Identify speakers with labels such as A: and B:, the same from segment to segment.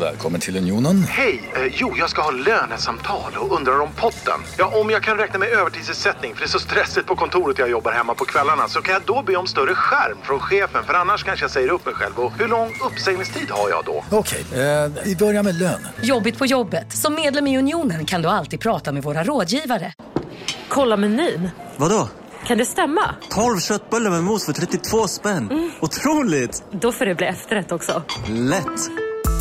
A: Välkommen till Unionen.
B: Hej! Eh, jo, jag ska ha lönesamtal och undrar om potten. Ja, om jag kan räkna med övertidsersättning för det är så stressigt på kontoret jag jobbar hemma på kvällarna så kan jag då be om större skärm från chefen för annars kanske jag säger upp mig själv. Och hur lång uppsägningstid har jag då?
A: Okej, eh, vi börjar med lön.
C: Jobbigt på jobbet. Som medlem i Unionen kan du alltid prata med våra rådgivare.
D: Kolla menyn.
E: Vadå?
D: Kan det stämma?
E: 12 köttbullar med mos för 32 spänn. Otroligt!
D: Då får det bli efterrätt också.
E: Lätt!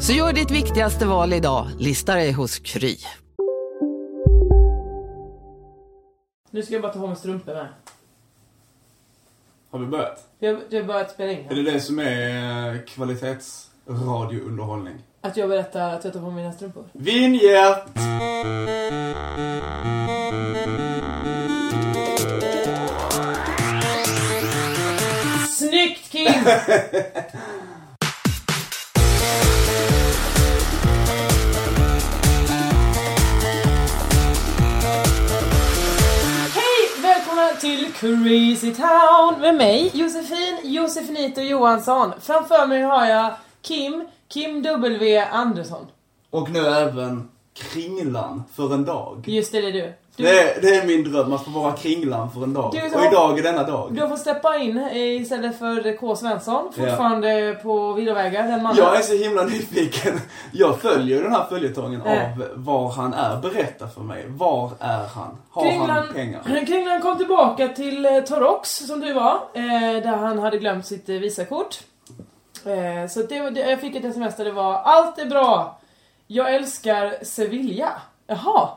F: Så gör ditt viktigaste val idag, listar dig hos Kry.
G: Nu ska jag bara ta på mig strumporna.
H: Har du börjat?
G: Jag, jag har börjat spela in.
H: Är
G: här.
H: det det som är eh, kvalitetsradiounderhållning?
G: Att jag berättar att jag tar på mig mina strumpor.
H: Vinjet!
G: Snyggt Kim! Hej! Välkomna till Crazy Town med mig Josefin Josefinito Johansson. Framför mig har jag Kim, Kim W Andersson.
H: Och nu även Kringlan för en dag.
G: Just det, det är du. du
H: Det är, det är min dröm, att få vara Kringlan för en dag.
G: Du är så-
H: Och idag är denna dag.
G: Du har fått släppa in eh, istället för K. Svensson,
H: Ja.
G: fortfarande på villovägar, den mannen.
H: Jag är så himla nyfiken. Jag följer ju den här följetongen
G: Äh.
H: av var han är. Berätta för mig. Var är han? Har han pengar?
G: Kringlan kom tillbaka till eh, Torox, som du var, eh, där han hade glömt sitt eh, visakort. Eh, så det, var- det, jag fick ett sms där det var Allt är bra, jag älskar Sevilla. Jaha.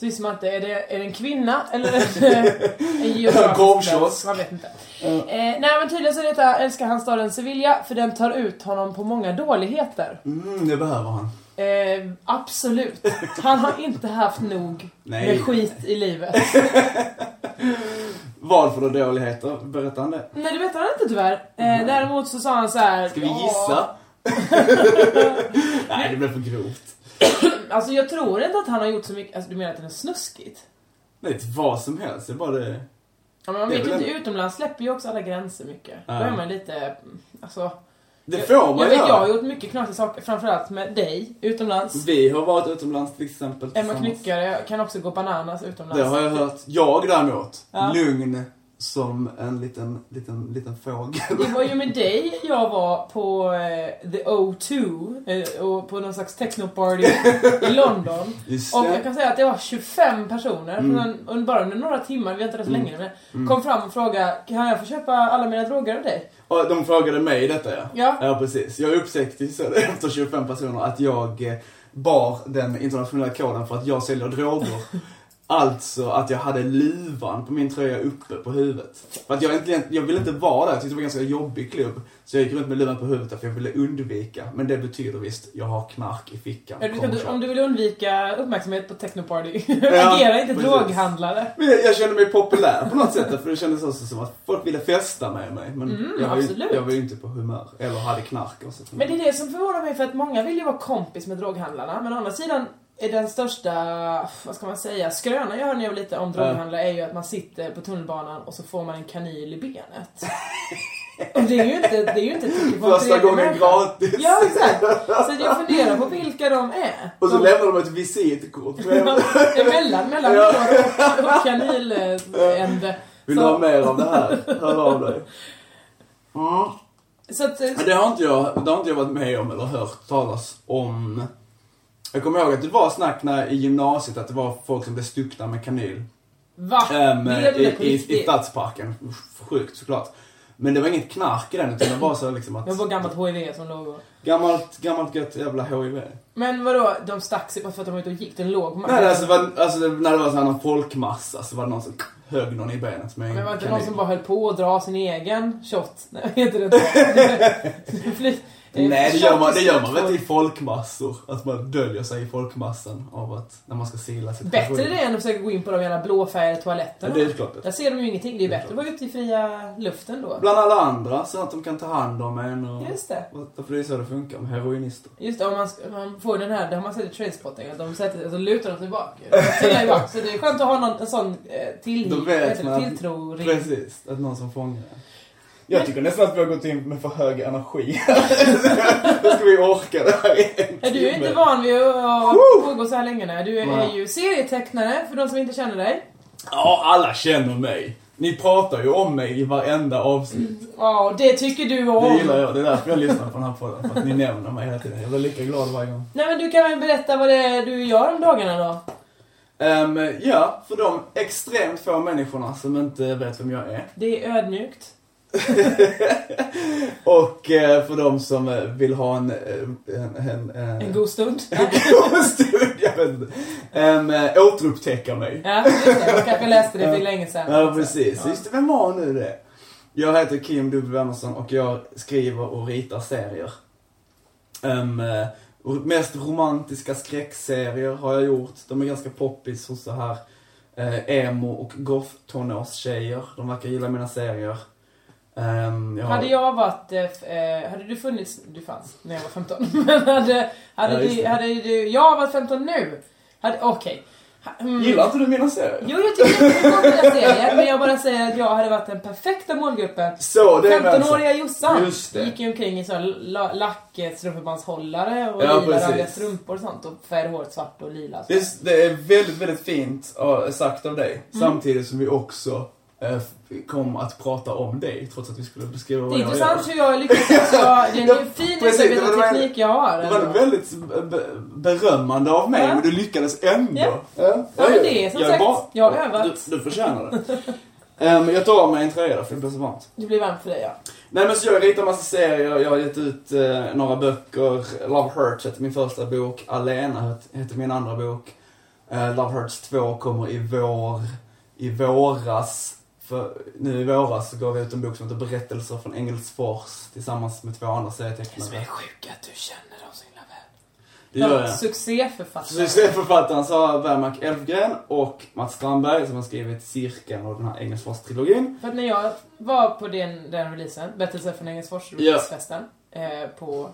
G: Så visste man inte, är det, är det en kvinna eller en, en geografisk
H: Korvkiosk.
G: plats? Man vet inte. Eh, nej men tydligen så är detta älskar han staden Sevilla för den tar ut honom på många dåligheter.
H: Mm, det behöver han.
G: Eh, absolut. Han har inte haft nog
H: Nej.
G: med skit i livet.
H: Vad för då dåligheter? Berätta han det?
G: Nej det vet han inte tyvärr. Eh, däremot så sa han så här.
H: Mm. Ska vi
G: "Ja."
H: gissa? Nej, det blev för grovt.
G: Alltså jag tror inte att han har gjort så mycket, alltså du menar att det är snuskigt?
H: Nej, det är vad som helst. Det är bara det.
G: Ja, men man
H: Det är
G: vet ju
H: väl
G: inte,
H: en-
G: utomlands släpper ju också alla gränser mycket. Då
H: Ja.
G: är man lite, alltså.
H: Det
G: jag-
H: får
G: Jag
H: man
G: vet, jag har
H: göra.
G: gjort mycket knasiga saker, framförallt med dig utomlands.
H: Vi har varit utomlands till exempel
G: Emma
H: tillsammans.
G: Knyckare kan också gå bananas utomlands.
H: Det har jag hört. Jag däremot,
G: Ja.
H: lugn som en liten, liten, liten fågel.
G: Det var ju med dig jag var på eh, The O2 eh, och på någon slags technoparty i London.
H: Just
G: Och
H: det. Mm.
G: jag kan säga att det var 25 personer, från, och bara under några timmar, vi har inte varit så länge nu, men kom fram och frågade kan jag få köpa alla mina droger av dig?
H: Och de frågade mig detta ja.
G: Ja.
H: precis. Jag upptäckte ju så efter 25 personer att jag eh, bar den internationella koden för att jag säljer droger. alltså att jag hade luvan på min tröja uppe på huvudet. För att jag egentligen, jag ville inte vara där, jag tyckte det var en ganska jobbig klubb. Så jag gick runt med luvan på huvudet för jag ville undvika. Men det betyder visst, jag har knark i fickan.
G: Eller du ska,
H: Kom och
G: du-
H: köp.
G: om du vill undvika uppmärksamhet på technoparty,
H: Ja,
G: agera inte
H: precis.
G: droghandlare.
H: Men jag, jag kände mig populär på något sätt för det kändes också som att folk ville festa med mig. Men jag, var ju,
G: Mm, absolut.
H: jag var ju inte på humör. Eller hade knark och sånt.
G: Men det är det som förvånar mig för att många vill ju vara kompis med droghandlarna men å andra sidan är den största, vad ska man säga, skrönan jag hör nu lite om droghandlare är ju att man sitter på tunnelbanan och så får man en kanyl i benet. Och det är ju inte, det är ju inte ett tecken på en
H: Första
G: trevlig
H: gången
G: människa.
H: gratis.
G: Ja exakt! Så jag funderar på vilka de är.
H: Och så
G: De-
H: lämnade de ett visitkort.
G: Emellan, mellan
H: Ja.
G: och- och kanylände.
H: Vill du ha
G: Så,
H: mer av det här? Hör av dig. Mm.
G: så att,
H: Men Det har, inte jag, det har inte jag varit med om eller hört talas om. Jag kommer ihåg att det var snack när, i gymnasiet att det var folk som blev stuckna med kanyl.
G: va?
H: Ehm,
G: Blev det
H: i,
G: på
H: i, I
G: riktigt?
H: stadsparken. Usch, Sjukt såklart. Men det var inget knark i den utan det var så liksom att...
G: Det var gammalt HIV som låg och...
H: Gammalt, gammalt gött jävla HIV.
G: Men vadå, de stack sig bara för att de var ute och gick? Den låg på
H: Nej, alltså, det var, alltså det- när det var sån här folkmassa så var det någon som högg någon i benet med en
G: Men var det inte
H: kanin.
G: någon som bara höll på att dra sin egen shot? Nej, heter det inte. Fly- Eh,
H: Nej, det gör man, det gör man väl
G: tjockis-
H: inte i folkmassor? Att man döljer sig i folkmassan av att, när man ska sila sitt
G: Bättre det än att försöka gå in på de jävla blåfärgade
H: Ja,
G: toaletterna.
H: det är ju klart bättre.
G: Där ser de ju ingenting. Det är bättre att vara ute i fria luften då.
H: Bland alla andra, så att de kan ta hand om en och...
G: Just det.
H: För det är så det funkar med heroinister.
G: Just det, om man, sk- man får den här, det har man sett i Trainspotting, att de sätter, alltså lutar de sig bak. De trillar ju bak. Så det är skönt att ha någon, en sån eh, till,
H: Då
G: vad
H: vet
G: heter det,
H: man
G: tilltro
H: att,
G: ring.
H: Precis, att någon som fångar en. Jag tycker nästan att vi har gått in med för hög energi. Hur ska vi orka det här i en
G: Ja, Du är
H: timme?
G: inte van vid att att
H: Woo!
G: pågå så här länge. Nej. Du är,
H: Nej.
G: ju serietecknare, för de som inte känner dig.
H: Ja, alla känner mig. Ni pratar ju om mig i varenda avsnitt.
G: Ja, och det tycker du
H: Det
G: om.
H: gillar jag. Det är därför jag lyssnar på den här podden. För att ni nämner mig hela tiden. Jag blir lika glad varje gång.
G: Nej men du kan väl berätta vad det är du gör om dagarna då?
H: Ehm, ja, för de extremt få människorna som inte vet vem jag är.
G: Det är ödmjukt.
H: Och eh, för de som eh, vill ha en... eh, En, en, eh,
G: En god stund.
H: god stund. Jag vet inte. Ehm, eh, återupptäcka mig.
G: Ja, just det. Jag kanske läste det för länge sedan.
H: Ja, precis. Just det, vem var nu det? Jag heter Kim W. Andersson och jag skriver och ritar serier. Ehm, eh, och mest romantiska skräckserier har jag gjort. De är ganska poppis hos så här eh, emo och goth tonårstjejer. De verkar gilla mina serier. Ehm, jag har-
G: Hade jag varit, eh, f- eh, hade du funnits, du fanns när jag var 15, men hade, hade,
H: Ja, just
G: du,
H: det.
G: hade du, jag varit 15 nu, hade, okej. Ha- Mm.
H: Gillar inte du mina serier?
G: Jo, jag tycker jättemycket om den här serien, men jag bara säger att jag hade varit den perfekta målgruppen.
H: Så, det är väl så.
G: 15-åriga Jossan
H: Just det.
G: gick ju omkring i sån la- lackstrumpebandshållare och
H: Ja,
G: lila
H: precis.
G: randiga strumpor och sånt och färgade håret svart och lila.
H: Det är, det är väldigt, väldigt fint eh, sagt av dig.
G: Mm.
H: Samtidigt som vi också eh, f- kom att prata om dig, trots att vi skulle beskriva
G: Det
H: vad
G: är
H: jag gör.
G: intressant hur jag lyckas. Jag, det är en fin
H: Precis, det var- det var-
G: teknik jag har.
H: Det var
G: ändå.
H: väldigt be- berömmande av mig,
G: Ja.
H: men du lyckades ändå.
G: Ja. Ja, men det är som sagt,
H: bra.
G: jag har övat.
H: Du, du förtjänar det. Ehm, jag tar av mig en tröja då, för det blir så varmt.
G: Det blir varmt för dig ja.
H: Nej men så jag ritar massa serier, jag har gett ut eh, några böcker. Love Hurts heter min första bok, Alena het- heter min andra bok. Eh, Love Hurts 2 kommer i vår, i våras. För nu i våras så gav jag ut en bok som heter Berättelser från Engelsfors tillsammans med två andra
G: Som är
H: serietecknare.
G: sjuka att du känner dem så himla väl.
H: Det gör
G: Ja,
H: jag.
G: Succéförfattare.
H: Succéförfattarna Sara Bergmark Elfgren och Mats Strandberg som har skrivit Cirkeln och den här Engelsfors-trilogin.
G: För att när jag var på den, den releasen, Berättelser från Engelsfors,
H: Ja.
G: releasefesten, eh, på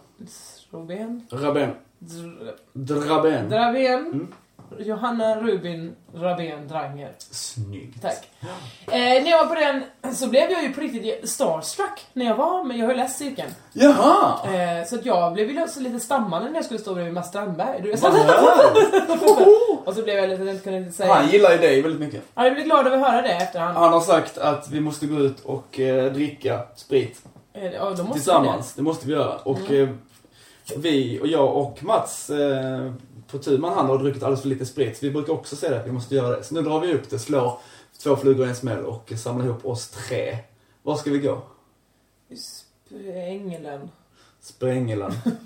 G: Robén,
H: Rabén.
G: Dr-
H: Drabén.
G: Dravén,
H: Mm.
G: Johanna Rubin Rabén Dranger.
H: Snyggt.
G: Tack. Eh, när jag var på den så blev jag ju på riktigt starstruck när jag var, men jag har ju läst cirkeln.
H: Jaha!
G: Eh, så att jag blev ju så lite stammande när jag skulle stå bredvid Mats Strandberg. Du vet,
H: Vad
G: så-
H: härligt.
G: Och så blev jag lite, jag kunde inte säga.
H: Han gillar ju dig väldigt mycket.
G: Ja, jag blev glad över att höra det efterhand.
H: Han har sagt att vi måste gå ut och eh, dricka sprit
G: Eh, Ja, då måste
H: tillsammans. Det. måste vi göra. Och eh, vi och jag och Mats eh, på tu man hand har druckit alldeles för lite sprit. Så vi brukar också säga att vi måste göra det. Så nu drar vi upp det, slår två flugor i en smäll och samlar ihop oss tre. Var ska vi gå?
G: det. Sp- Ängelen.
H: Sprängeland.
G: Kan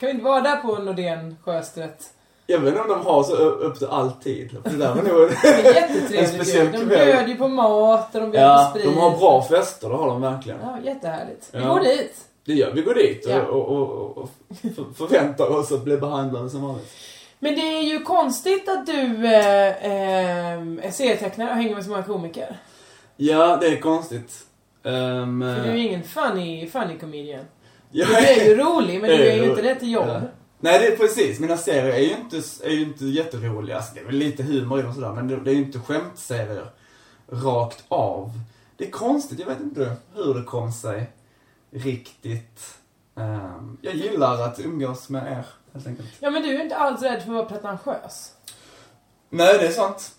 G: vi inte vara där på Nordén Sjöstedt?
H: jag vet inte om de har så ö- upp till alltid. För det där var nog...
G: Det är
H: En
G: jättetrevligt ju.
H: speciell
G: De
H: kväll.
G: bjöd ju på mat och de bjöd
H: ja,
G: på sprit.
H: de har bra fester, det har de verkligen.
G: Ja, jättehärligt. Vi
H: Ja.
G: går dit.
H: Det gör vi. går dit och,
G: Ja.
H: och, och, och för- förväntar oss att bli behandlade som vanligt.
G: Men det är ju konstigt att du eh, eh, är serietecknare och hänger med så många komiker.
H: Ja, det är konstigt. Ehm,
G: För du är ju ingen funny, funny comedian.
H: jag-
G: Du är ju rolig, men du
H: Jag
G: är ju
H: ro-
G: inte rätt till
H: Ja.
G: jobb.
H: Nej, det är precis. Mina serier är ju inte, är ju inte jätteroliga. Alltså, det är väl lite humor i dem och sådär, men det, det är ju inte skämtserier rakt av. Det är konstigt, jag vet inte hur det kom sig riktigt. Ehm, jag gillar att umgås med er, helt enkelt.
G: Ja, men du är inte alls rädd för att vara pretentiös.
H: Nej, det är sant.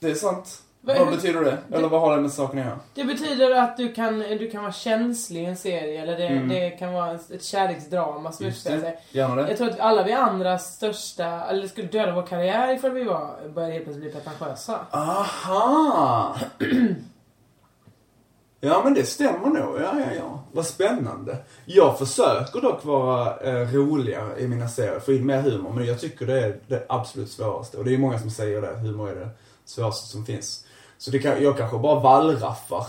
H: Det är sant.
G: Vad-
H: vad
G: hur-
H: betyder det? Eller vad har det med saken att göra?
G: Det betyder att du kan, du kan vara känslig i en serie, eller det,
H: Mm.
G: det kan vara ett kärleksdrama som
H: Just
G: utspelar sig.
H: det. Gärna det.
G: alltså. Jag tror att alla vi andra största, eller skulle döda vår karriär ifall vi var, började helt plötsligt bli pretentiösa.
H: Aha! Ja men det stämmer nog, ja ja ja. Vad spännande. Jag försöker dock vara eh, roligare i mina serier, få in mer humor. Men jag tycker det är det absolut svåraste. Och det är ju många som säger det, humor är det svåraste som finns. Så det kan, jag kanske bara vallraffar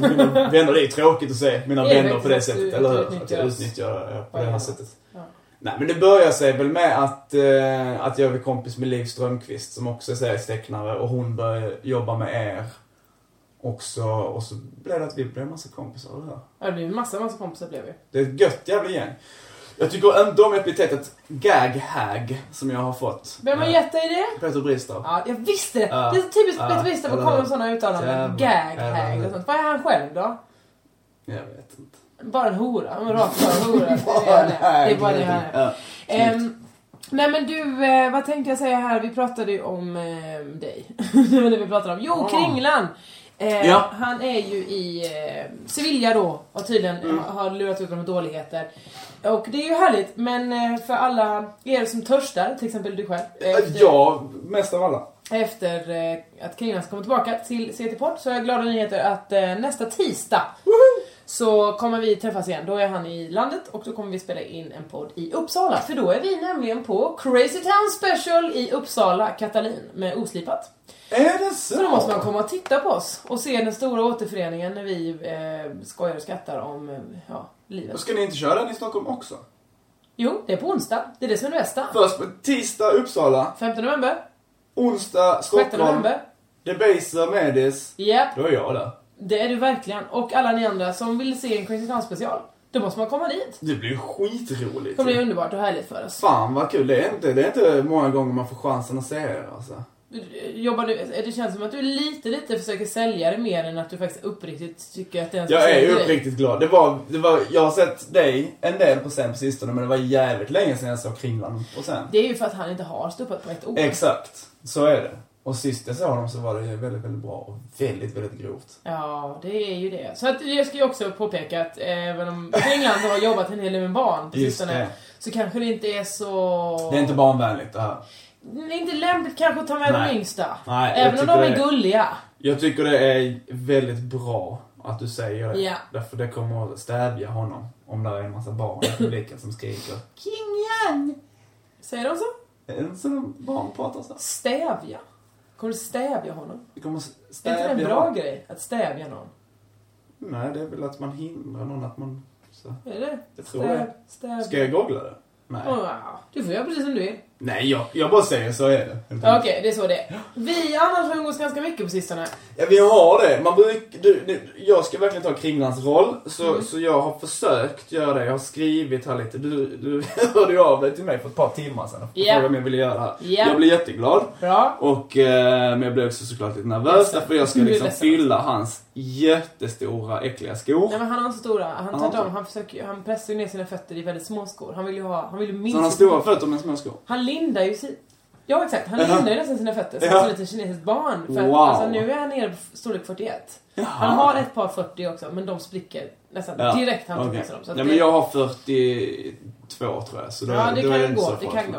H: mina vänner. Det är tråkigt att se mina
G: Det är
H: vänner
G: väl
H: på det
G: att du-
H: sättet,
G: att
H: eller
G: du
H: hur? Att jag
G: utnyttjas.
H: utnyttjar det på det här
G: Ja.
H: sättet.
G: Ja.
H: Nej men det börjar sig väl med att, eh, att jag är kompis med Liv Strömqvist som också är serietecknare och hon började jobba med er också och så blev det att vi blev en massa kompisar och det här.
G: Ja, det blev ju massa, massa kompisar blev vi.
H: Det är ett gött jävla gäng. Jag tycker ändå om epitetet gag-hag som jag har fått.
G: Vem har
H: Eh,
G: gett dig det?
H: Peter Bristav.
G: Ja, jag visste det!
H: Ja.
G: det är så typiskt
H: Ja.
G: Peter Wester att
H: Eller-
G: komma med sådana uttalanden.
H: Jävlar.
G: Gag,
H: Jävlar.
G: hag och sånt. Vad är han själv då?
H: Jag vet inte.
G: Bara en hora. Han är rakt bara en hora. Det är det. Det är bara det han är.
H: Ja.
G: Ehm, nej men du, eh, vad tänkte jag säga här? Vi pratade ju om ehm, dig. det var det vi pratade om. Jo,
H: Ah.
G: Kringlan! Eh,
H: Ja.
G: Han är ju i eh, Sevilla då och tydligen
H: Mm.
G: ha- har lurat ut dem dåligheter. Och det är ju härligt, men eh, för alla er som törstar, till exempel du själv, efter,
H: Ja, mest av alla.
G: efter eh, att Kringlan ska komma tillbaka till CT Port så har jag glada nyheter att eh, nästa tisdag så kommer vi träffas igen. Då är han i landet och då kommer vi spela in en podd i Uppsala. För då är vi nämligen på Crazy Town Special i Uppsala, Katalin, med Oslipat.
H: Är det så?
G: Så då måste man komma och titta på oss och se den stora återföreningen när vi eh, skojar och skrattar om eh, ja, livet.
H: Ska ni inte köra den i Stockholm också?
G: Jo, det är på onsdag. Det är det som är det bästa.
H: Först på tisdag Uppsala,
G: 15 november,
H: onsdag
G: 6
H: Stockholm,
G: november.
H: Debaser Medis.
G: Japp.
H: Då är jag där.
G: Det är du verkligen. Och alla ni andra som vill se en Crazy Town special, då måste man komma dit.
H: Det blir ju skitroligt.
G: Det kommer bli underbart och härligt för oss.
H: Fan vad kul, det är, inte, det är inte många gånger man får chansen att se er alltså.
G: Jobbar du, det känns som att du lite, lite försöker sälja det mer än att du faktiskt uppriktigt tycker att Alltså, det är en
H: Jag är
G: speciell
H: ju
G: grej.
H: uppriktigt glad. Det var, det var, jag har sett dig en del på sen på sistone men det var jävligt länge sedan jag såg Kringlan på sen.
G: Det är ju för att han inte har ståuppat på ett år.
H: Exakt, så är det. Och sist jag såg honom så var det ju väldigt, väldigt bra och väldigt, väldigt grovt.
G: Ja, det är ju det. Så att jag ska ju också påpeka att även om England har jobbat en hel del med barn på
H: Just
G: sistone,
H: det.
G: så kanske det inte är så...
H: Det är inte barnvänligt det här.
G: Det är inte lämpligt kanske att ta med
H: Nej.
G: de yngsta.
H: Nej, jag
G: även om de
H: tycker
G: är
H: det.
G: gulliga.
H: Jag tycker det är väldigt bra att du säger det.
G: Ja.
H: Därför det kommer att stävja honom om det är en massa barn i publiken som skriker.
G: Kingyan! Säger de så?
H: Är det inte så de barn pratar så?
G: Stävja. Kommer du stävja honom?
H: Det kommer
G: Är
H: stävja
G: inte det en bra grej? Att stävja någon?
H: Nej, det är väl att man hindrar någon att man... Så.
G: Är det?
H: Jag tror
G: Stäv-
H: det.
G: Stävja.
H: Ska jag googla det? Nej.
G: Åh, wow. Du får göra precis som du vill.
H: Nej, jag, jag bara säger så är det.
G: Ja, Okej, det är så det är. Vi annars har umgås ganska mycket på sistone.
H: Ja, vi har det. Man bruk, du, nu, jag ska verkligen ta Kringlans roll, så,
G: Mm.
H: så jag har försökt göra det. Jag har skrivit här lite. Du, du hörde ju av dig till mig för ett par timmar sedan och
G: Ja.
H: frågade om jag ville göra det här.
G: Ja.
H: Jag blev jätteglad.
G: Bra.
H: Och, eh, men jag blev också såklart lite nervös därför jag ska
G: Du är
H: liksom
G: ledsen.
H: fylla hans jättestora äckliga skor.
G: Nej men han har inte så stora. Han
H: har
G: tar
H: inte.
G: dem, han, försöker, ju- han pressar ju ner sina fötter i väldigt små skor. Han vill ju ha, han vill ju
H: Så han har
G: minst...
H: stora fötter men små skor.
G: han lindar ju sin... Ja exakt, han
H: Ja.
G: lindar ju nästan sina fötter som
H: Ja.
G: ett litet kinesiskt barn. För att,
H: Wow.
G: alltså, nu är han nere på f- storlek 41. Han har ett par 40 också, men de spricker nästan
H: Ja,
G: direkt han tar
H: okej.
G: på sig dem. Så att
H: Nej
G: det-
H: men jag har 42 tror jag. Så då,
G: Ja, det
H: då är
G: kan ju
H: inte
G: gå.
H: så
G: Det
H: farligt.
G: kan gå.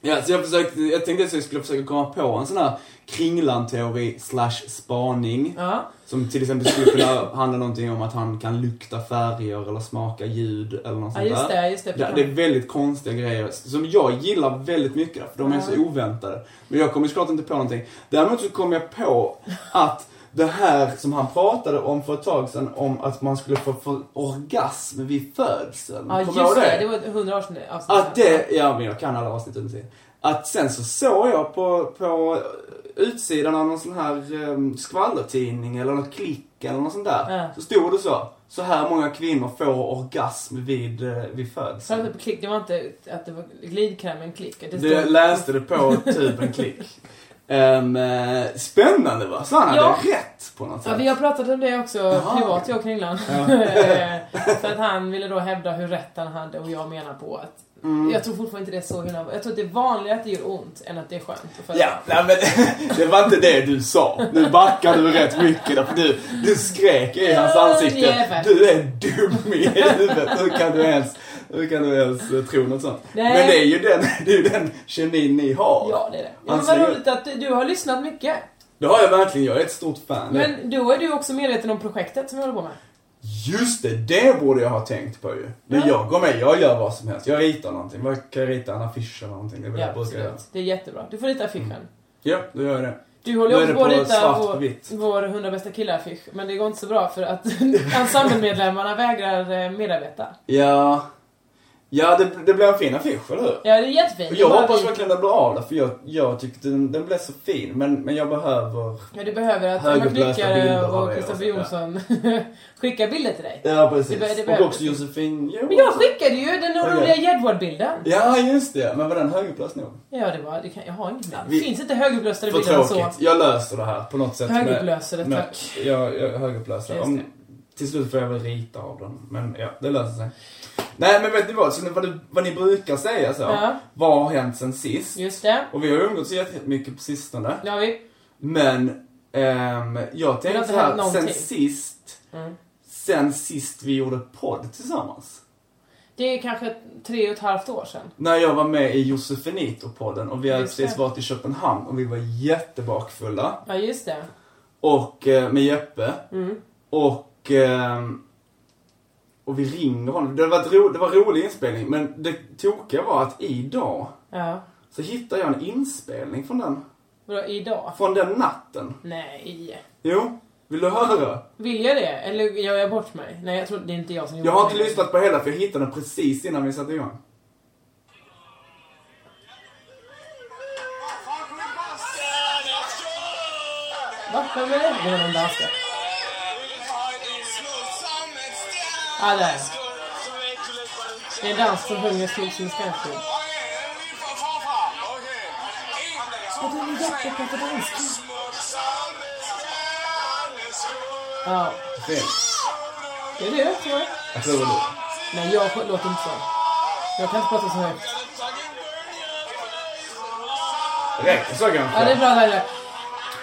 H: Ja, så jag, försökte, jag tänkte att jag skulle försöka komma på en sån här kringlanteori slash spaning.
G: Ja.
H: Som till exempel skulle kunna handla någonting om att han kan lukta färger eller smaka ljud eller något
G: Ja,
H: sånt
G: just
H: där.
G: det, just det.
H: Ja, det är väldigt konstiga grejer som jag gillar väldigt mycket för de är så oväntade. Men jag kommer såklart inte på någonting. Däremot så kom jag på att det här som han pratade om för ett tag sedan om att man skulle få, få orgasm vid födseln.
G: Ja,
H: Kommer du
G: just
H: ihåg
G: det. Det var 100 år sedan avsnitt.
H: Att det, ja men jag kan alla avsnitt utan Att sen så såg jag på, på utsidan av någon sån här um, skvallertidning eller något klick eller något sånt där.
G: Ja.
H: Så stod det så. Så här många kvinnor får orgasm vid, eh, vid
G: Så det
H: födseln.
G: var på klick, det var inte att det var glidkrämen klick. Det
H: Det jag
G: stod-
H: läste det på typ en klick. Ehm, eh, spännande va? Så han
G: Ja.
H: hade rätt på något sätt.
G: Ja, vi har pratat om det också
H: Jaha.
G: privat, jag och Kringlan. För att han ville då hävda hur rätt han hade och jag menar på att
H: Mm.
G: Jag tror fortfarande inte det är så himla... Jag tror att det är vanligare att det gör ont än att det är skönt. För
H: Ja, nej, men det var inte det du sa. Nu backar du rätt mycket därför du, du skrek i hans
G: Ja,
H: ansikte.
G: jävel.
H: Du är dum i huvudet. Hur kan du ens, hur kan du ens eh, tro något sånt?
G: Nej.
H: Men det är ju den, det är ju den kemin ni har.
G: Ja, det är det. Ja, men
H: Alltså,
G: vad
H: jag-
G: roligt att du- du har lyssnat mycket.
H: Det har jag verkligen, jag är ett stort fan.
G: Men då är du också medveten om projektet som vi håller på med.
H: Just det, det borde jag ha tänkt på ju. När jag går med, jag gör vad som helst. Jag ritar någonting. Vad kan jag rita? En affisch eller någonting. Det är väl
G: Ja,
H: det jag brukar göra.
G: absolut. Det är jättebra. Du får rita affischen.
H: Ja, då gör jag det.
G: Du håller
H: Nu
G: ju
H: är
G: också på
H: det
G: att
H: på
G: rita
H: svart på
G: vår,
H: vitt.
G: vår 100 bästa killar-affisch, men det går inte så bra för att ensemblemedlemmarna vägrar eh, medarbeta.
H: Ja. Ja, det, det blev en fin affisch, eller hur?
G: Ja, det är jättefint.
H: Och
G: Det är
H: jag
G: bara
H: hoppas
G: vi-
H: verkligen den blir av där, för jag, jag tyckte den, den blev så fin. Men, men jag behöver...
G: Ja, du behöver att Emma
H: Högerblöta
G: Knyckare
H: bilder
G: och
H: av er
G: Kristoffer
H: och så,
G: Jonsson skickar bilder till dig.
H: Ja,
G: Det
H: precis.
G: be- det
H: och
G: behöver-
H: också Josefin
G: Men jag skickade ju den oroliga
H: Okej.
G: Jedward-bilden.
H: Ja, just det. Men var den högerplats nog?
G: Ja, det var... Det kan, jag har ingen bild.
H: Vi-
G: Finns inte högupplösare
H: För
G: bilder än så?
H: tråkigt. Jag löser det här på något sätt. med-
G: Högupplöser det,
H: med-
G: tack.
H: Jag, jag högupplöser det.
G: Just
H: Om,
G: det.
H: till slut får jag väl rita av den. Men ja, det löser sig. Nej, men vet ni vad? Så nu- vad, du, vad ni brukar säga så.
G: Ja.
H: Vad har hänt sen sist?
G: Just det.
H: Och vi har umgåtts jättemycket på sistone.
G: Nu har vi...
H: Men ehm, jag
G: har
H: tänkte
G: inte
H: så här,
G: hänt någonting. Mm.
H: sen sist, sen sist vi gjorde podd tillsammans.
G: Det är kanske tre och ett halvt år sedan.
H: När jag var med i Josefinito-podden och vi hade
G: Just
H: precis
G: det.
H: varit i Köpenhamn och vi var jättebakfulla.
G: Ja, just det.
H: Och eh, med Jeppe.
G: Mm.
H: Och, ehm, och vi ringer honom. Det var, ro, det var en rolig inspelning men det tokiga var att idag
G: Ja.
H: så hittade jag en inspelning från den,
G: Vadå, idag?
H: från den natten.
G: Nej.
H: Jo, vill du höra?
G: Vill jag det? Eller gör jag bort mig? Nej, jag tror det är inte jag som
H: Jag har inte
G: det.
H: lyssnat på hela för jag hittade den precis innan vi satte igång.
G: Va? Vem är det? Det är någon danska. Ja, där. Det är en dans som sjunger stort som en skanskjul. Ja,
H: Fint.
G: det är du tror jag.
H: Jag tror det.
G: Nej, jag får- låter inte så. Jag kan inte prata så högt.
H: Räcker så
G: Ja, det är
H: kanske?
G: bra där.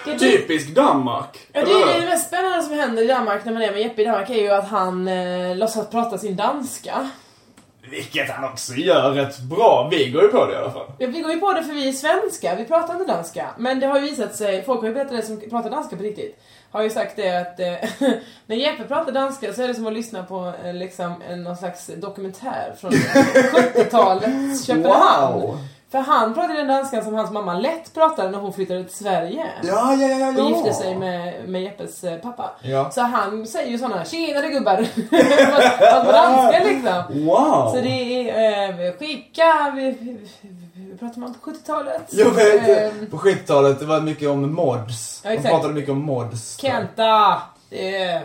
G: Det är du.
H: Typisk Danmark!
G: Ja, det, är det
H: hur?
G: mest spännande som händer i Danmark när man är med Jeppe i Danmark är ju att han eh, låtsas prata sin danska.
H: Vilket han också gör rätt bra. Vi går ju på det i alla fall.
G: Ja, vi går ju på det för vi är svenskar, vi pratar inte danska. Men det har ju visat sig, folk har ju berättat det som pratar danska på riktigt. Har ju sagt det att eh, när Jeppe pratar danska så är det som att lyssna på eh, liksom, en- någon slags dokumentär från 70-talets Köpenhamn.
H: Wow.
G: För han pratade den danskan som hans mamma lätt pratade när hon flyttade till Sverige.
H: Ja, ja, ja, ja.
G: Och gifte sig med, med Jeppes eh, pappa.
H: Ja.
G: Så han säger ju sådana tjenare gubbar. Fast- Fast på danska liksom.
H: Wow!
G: Så det är eh, skicka, vi, vi, vi pratar man på 70-talet?
H: Jag vet,
G: Eh,
H: på 70-talet det var mycket om mods.
G: Ja,
H: De
G: exakt.
H: pratade mycket om mods.
G: Kenta, eh,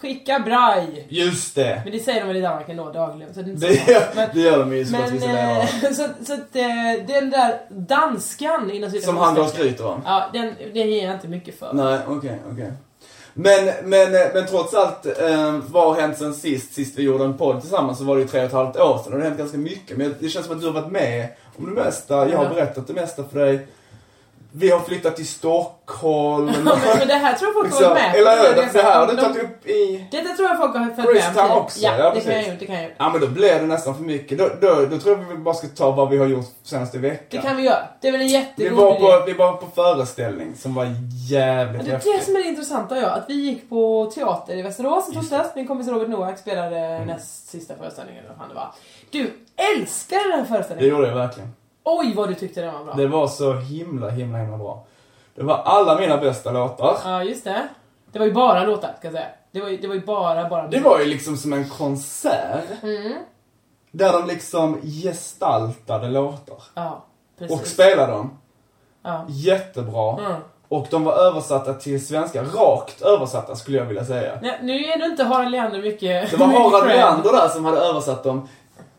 G: skicka braj.
H: Just det!
G: Men det säger de väl i Danmark ändå dagligen. Så det är inte så
H: Det gör,
G: men-
H: det gör de ju såklart
G: men
H: vissa delar av.
G: eh, så, så att eh, den där danskan inom
H: Som han då
G: citationstecken,
H: skryter om.
G: Ja, den, den ger jag inte mycket för.
H: Nej, okej, okej. Men, men, eh, men trots allt, eh, vad har hänt sen sist? Sist vi gjorde en podd tillsammans så var det ju tre och ett halvt år sedan och det har hänt ganska mycket. Men det känns som att du har varit med om det mesta. Jag har
G: Ja.
H: berättat det mesta för dig. Vi har flyttat till Stockholm.
G: Men, men det här tror jag folk har
H: liksom.
G: varit med på.
H: Eller hur?
G: Det-
H: Det här har du
G: de-
H: tagit upp i...
G: Detta tror jag folk har följt
H: First
G: med
H: time
G: om.
H: också,
G: Ja,
H: ja,
G: det kan jag
H: precis.
G: ju. Det, kan jag. ju.
H: Ja men då blir det nästan för mycket. Då, då, då tror jag vi bara ska ta vad vi har gjort senaste veckan.
G: det kan vi göra. Det är väl en
H: vi,
G: jättegod
H: var
G: idé.
H: på, vi var på föreställning som var jävligt
G: Det
H: häftig.
G: är det som är det intressanta ja, att vi gick på teater i Västerås i torsdags. Min kompis Robert Noack spelade
H: Mm.
G: näst sista föreställningen eller vad fan det var. Du älskade den här
H: Det
G: föreställningen!
H: gjorde jag verkligen.
G: Oj vad du tyckte den var bra!
H: Det var så himla, himla, himla bra. Det var alla mina bästa låtar.
G: Ja just det. Det var ju bara låtar ska jag säga. Det var ju, det var ju bara, bara
H: Det var ju liksom som en konsert.
G: Mm.
H: Där de liksom gestaltade låtar.
G: Ja, precis.
H: Och spelade dem.
G: ja.
H: Jättebra.
G: Mm.
H: Och de var översatta till svenska. Rakt översatta skulle jag vilja säga.
G: Nej, nu är du inte Harald Leander mycket...
H: Det var
G: mycket
H: Harald
G: cred.
H: Leander där som hade översatt dem.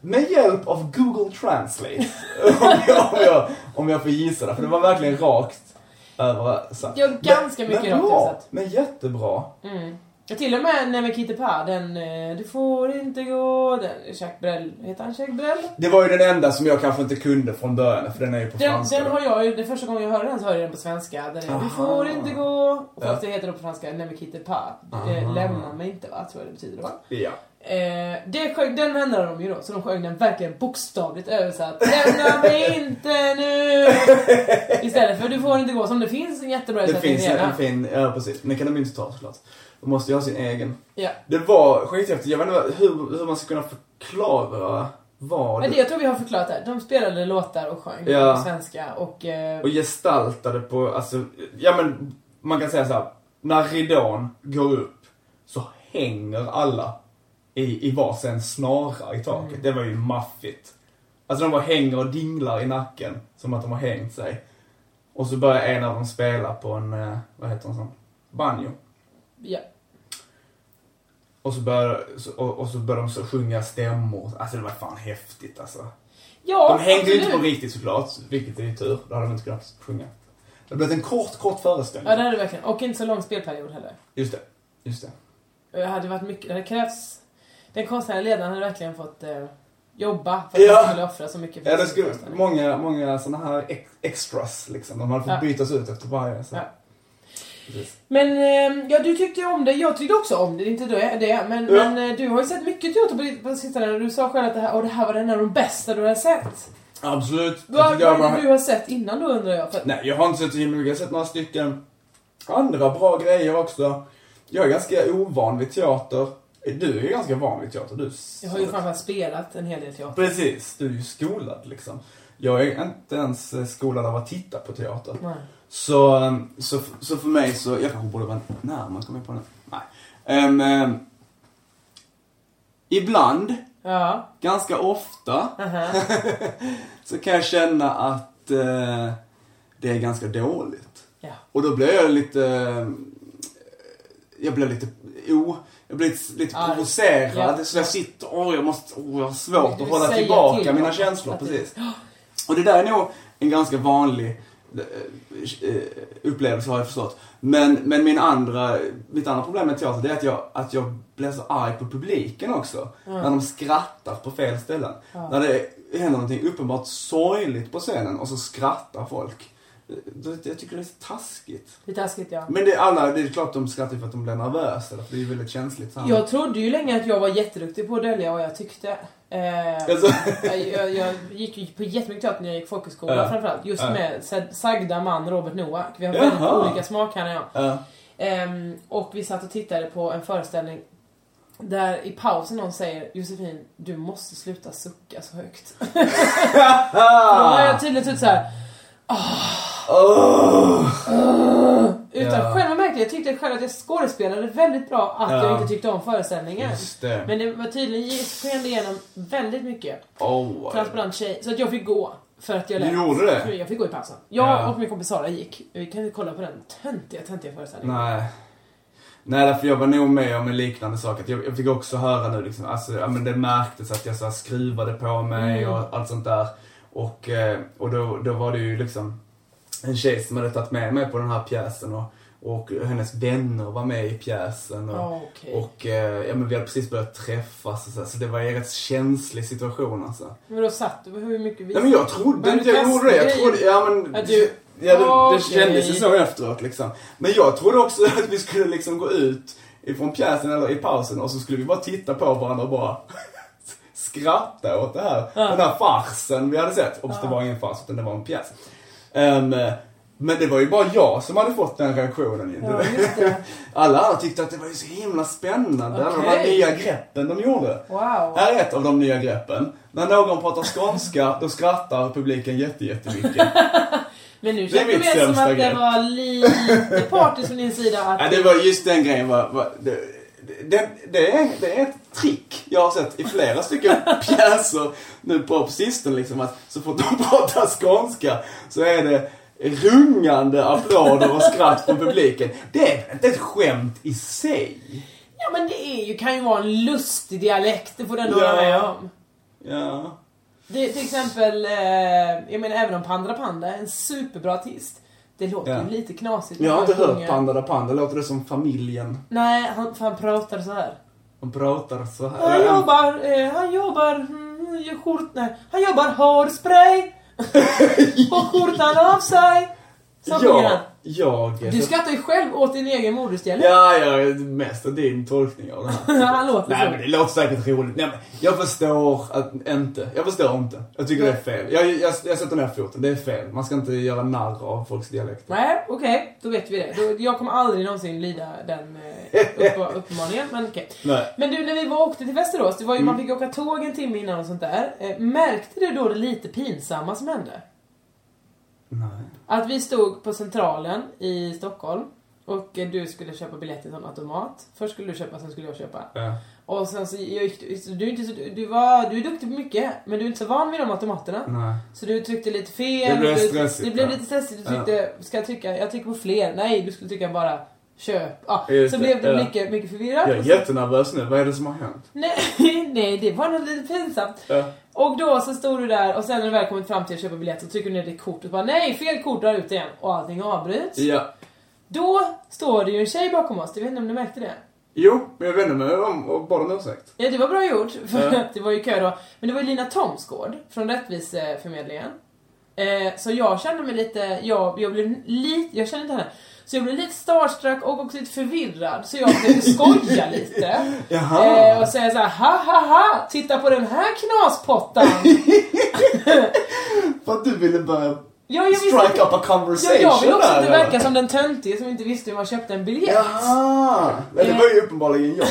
H: Med hjälp av Google Translate. om, jag, om, jag, om jag får gissa det. För det var verkligen rakt översatt.
G: Ja, ganska
H: Men-
G: mycket
H: men
G: rakt
H: bra,
G: översatt.
H: Men jättebra.
G: Och Till och med när med Kitty Pa, den eh, Du får inte gå... Den, Jacques Brel, heter han Jacques Brel?
H: Det var ju den enda som jag kanske inte kunde från början, för den är ju på
G: Den,
H: franska.
G: den
H: då.
G: har jag ju, det är första gången jag hörde den så hörde jag den på svenska. Den är, du får inte gå. Och fast det heter då på franska, Nej men quitte pas. Eh, lämna mig inte va, tror jag det betyder va?
H: Ja.
G: Eh, det sjöng, den ändrade de ju då, så de sjöng den verkligen bokstavligt översatt. Lämna mig inte nu! Istället för du får inte gå, som det finns en jättebra
H: Det
G: översättning
H: finns en,
G: redan.
H: en fin, ja precis. Men det kan de ju inte ta såklart. De måste ju ha sin egen.
G: Ja.
H: Det var skithäftigt. Jag vet inte vad- hur, hur man ska kunna förklara var
G: Men det,
H: det
G: jag tror vi har förklarat det här. De spelade låtar och sjöng
H: Ja.
G: på svenska och... Eh,
H: och gestaltade på, alltså, ja men man kan säga så här. när ridån går upp så hänger alla i, i varsin snara i taket.
G: Mm.
H: Det var ju maffigt. Alltså de bara hänger och dinglar i nacken som att de har hängt sig. Och så börjar en av dem spela på en, eh, vad heter en sån, banjo.
G: ja.
H: Och så börjar, så- och, och så börjar de så sjunga stämmor. Alltså det var fan häftigt alltså.
G: ja,
H: De hängde ju inte på
G: absolut.
H: riktigt såklart, vilket är ju tur. Då hade de inte kunnat sjunga. Det blev en kort, kort föreställning.
G: Ja, det hade det verkligen. Och inte så lång spelperiod heller.
H: Just det. Just det.
G: Det hade varit mycket, det hade krävts... Den konstnärliga ledaren hade verkligen fått eh, jobba för att
H: Ja.
G: han skulle offra så mycket för
H: Ja, det
G: sin
H: skulle,
G: föreställning.
H: många, många såna här ex- extras liksom. De hade fått
G: Ja.
H: bytas ut efter varje. Så.
G: Ja.
H: Precis.
G: Men eh, ja, du tyckte ju om det. Jag tyckte också om det. Det är inte det. det. Men,
H: Ja.
G: men eh, du har ju sett mycket teater på, på sistone. Du sa själv att det här, och det här var en av de bästa du har sett.
H: Absolut. Jag
G: Vad
H: tycker jag
G: vad är
H: bara...
G: det du har sett innan då undrar jag. För, att-
H: Nej, jag har inte sett så himla mycket. Jag har sett några stycken andra bra grejer också. Jag är ganska ovan vid teater. Du är ganska van vid teater. Du
G: jag har ju framförallt spelat en hel del teater.
H: Precis, du är ju skolad liksom. Jag är inte ens eh, skolad av att titta på teater.
G: Nej.
H: Så, ehm, så, så för mig så, jag kanske borde vara närmare, kommer jag på det? Nej. Ehm, ehm, ibland,
G: Ja.
H: ganska ofta,
G: aha.
H: så kan jag känna att eh, det är ganska dåligt.
G: Ja.
H: Och då blir jag lite, eh, jag blir lite, o, jag blir lite, lite
G: Arg.
H: provocerad.
G: Ja.
H: Så jag sitter, åh jag måste, åh jag har svårt
G: Du
H: att
G: vill
H: hålla
G: säga
H: tillbaka
G: till
H: mina
G: dem
H: känslor.
G: att det-
H: Precis. Och det där är nog en ganska vanlig eh, eh, upplevelse har jag förstått. Men, men min andra, mitt andra problem med teater det är att jag, att jag blir så arg på publiken också. När de skrattar på fel ställen. När det händer någonting uppenbart sorgligt på scenen och så skrattar folk. Det, jag tycker det är så taskigt.
G: Lite taskigt ja.
H: Men det, är alla, det är klart de skrattar för att de blir nervösa. För det är ju väldigt känsligt. Så här.
G: Jag trodde ju länge att jag var jätteduktig på att dölja vad jag tyckte. Eh,
H: Alltså-
G: jag, jag, jag gick ju på jättemycket teater när jag gick folkhögskola
H: Ja.
G: framförallt. Just
H: Ja.
G: med sed- sagda man Robert Noak. Vi har
H: Jaha.
G: väldigt olika smak han och jag.
H: Ja.
G: Ehm, och vi satt och tittade på en föreställning där i pausen någon säger Josefin, du måste sluta sucka så högt. Då har
H: Ah.
G: jag typ tydligt ut såhär
H: Åh!
G: Utan
H: Ja.
G: själva märkte jag tyckte själv att jag skådespelade väldigt bra att jag
H: Ja.
G: inte tyckte om föreställningen.
H: Just det.
G: Men det var tydligen sken det igenom väldigt mycket.
H: Åh.
G: Transparent tjej. Så att jag fick gå. För att jag
H: Du
G: lät.
H: gjorde det?
G: För Jag fick gå i pausen. Jag
H: Ja.
G: och min kompis Sara gick. Vi kan inte kolla på den töntiga, töntiga föreställningen.
H: Nej. Nej, därför jag var nog med om en liknande sak. Att jag, jag fick också höra nu liksom, alltså, ja, men det märktes att jag så här, skruvade på mig
G: Mm.
H: och allt sånt där. Och, eh, och då, då var det ju liksom en tjej som hade tagit med mig på den här pjäsen och, och hennes vänner var med i pjäsen. Och,
G: Ja, Ah, okej.
H: och eh, ja, men vi hade precis börjat träffas och så, här, så det var en rätt känslig situation alltså.
G: Men då satt du, hur mycket vi
H: Ja, men jag trodde
G: Började
H: inte jag
G: du
H: gjorde det. Jag
G: testa
H: trodde,
G: grejer?
H: ja men...
G: Ja, du-
H: ja, det, det
G: Okej.
H: kändes ju så efteråt liksom. Men jag trodde också att vi skulle liksom gå ut ifrån pjäsen eller i pausen och så skulle vi bara titta på varandra och bara skratta åt det här. Den här farsen vi hade sett. Och det var ingen fars utan det var en pjäs. Ehm, men det var ju bara jag som hade fått den reaktionen. ju.
G: Ja, just det.
H: Alla andra tyckte att det var ju så himla spännande. Alla de här
G: Okej.
H: nya greppen de gjorde.
G: Wow.
H: Här är ett av de nya greppen. När någon pratar skånska, då skrattar publiken jätte, jättemycket.
G: Men nu
H: Det är
G: känns det
H: mitt
G: mer som
H: sämsta
G: att det
H: grepp.
G: var lite partiskt från din sida att...
H: ja, det var just den grejen. Var, var, det, det, det, är, det är ett trick jag har sett i flera stycken pjäser nu på, på sistone. Liksom, att så fort de pratar skånska så är det rungande applåder och skratt från publiken. Det är inte ett skämt i sig.
G: Ja men det är ju, kan ju vara en lustig dialekt, det får du ändå
H: Ja.
G: hålla med om.
H: Ja.
G: Det, till exempel, eh, jag menar även om Pandra Panda är en superbra artist. Det låter
H: Ja.
G: ju lite knasigt. när
H: Jag har
G: han
H: inte hört
G: sjunger.
H: Panda da Panda. Låter det som familjen?
G: Nej, han, för han pratar så här.
H: De pratar så här.
G: Han jobbar, eh, han jobbar, mm, gör skjort, nej, han jobbar hårspray. Och skjortan av sig. Så sjunger han.
H: Ja, jag...
G: Du skrattar ju själv åt din egen modusdialekt.
H: Ja, ja, mest din tolkning av det här.
G: Ja, han låter
H: Nej
G: så.
H: men det låter säkert roligt. Nej, men jag förstår att inte. Jag förstår inte. Jag tycker det är fel. Jag, jag, jag sätter ner foten. Det är fel. Man ska inte göra narr av folks dialekter.
G: Nej, okej, då vet vi det. Då, jag kommer aldrig någonsin lida den eh, upp, uppmaningen, men okej.
H: Nej. Mm.
G: Men du, när vi var, åkte till Västerås, det var ju, man fick åka tåg en timme innan och sånt där. Eh, märkte du då det lite pinsamma som hände?
H: Nej.
G: Att vi stod på Centralen i Stockholm och eh, du skulle köpa biljett till en automat. Först skulle du köpa, sen skulle jag köpa.
H: Ja.
G: Och sen så gick du, så du, är inte så, du, var, du är duktig på mycket, men du är inte så van vid de automaterna.
H: Nej.
G: Så du tryckte lite fel.
H: Det blev
G: och du,
H: stressigt,
G: Det blev
H: ja.
G: lite stressigt. Du tyckte, ska jag trycka, jag trycker på fler. Nej, du skulle trycka bara köp. Ja,
H: Just
G: så
H: det,
G: blev du
H: ja.
G: mycket, mycket förvirrad.
H: Jag är jättenervös nu. Vad är det som har hänt?
G: Nej, nej, det var något lite pinsamt.
H: Ja.
G: Och då så stod du där och sen när du väl kommit fram till att köpa biljett så trycker du ner ditt kort och bara nej, fel kort, drar ut igen. Och allting avbryts.
H: Ja.
G: Då står det ju en tjej bakom oss, jag vet inte om du märkte det?
H: Jo, men jag vände mig om och bad om ursäkt.
G: Ja, det var bra gjort, för
H: Ja.
G: att det var ju kö då. Men det var ju Lina Thomsgård från Rättviseförmedlingen. Eh, så jag kände mig lite, jag, jag blev lite, jag kände inte henne. Så jag blev lite starstruck och också lite förvirrad, så jag försökte skoja lite. Eh,
H: Jaha.
G: och säga såhär, ha ha ha, titta på den här knaspottan!
H: För att du ville börja
G: Ja, jag visste
H: strike
G: inte-
H: up a
G: Ja,
H: conversation
G: jag vill också inte
H: där,
G: verka som den töntige som inte visste hur man köpte en biljett.
H: Jaha. Nej, det var ju uppenbarligen jag.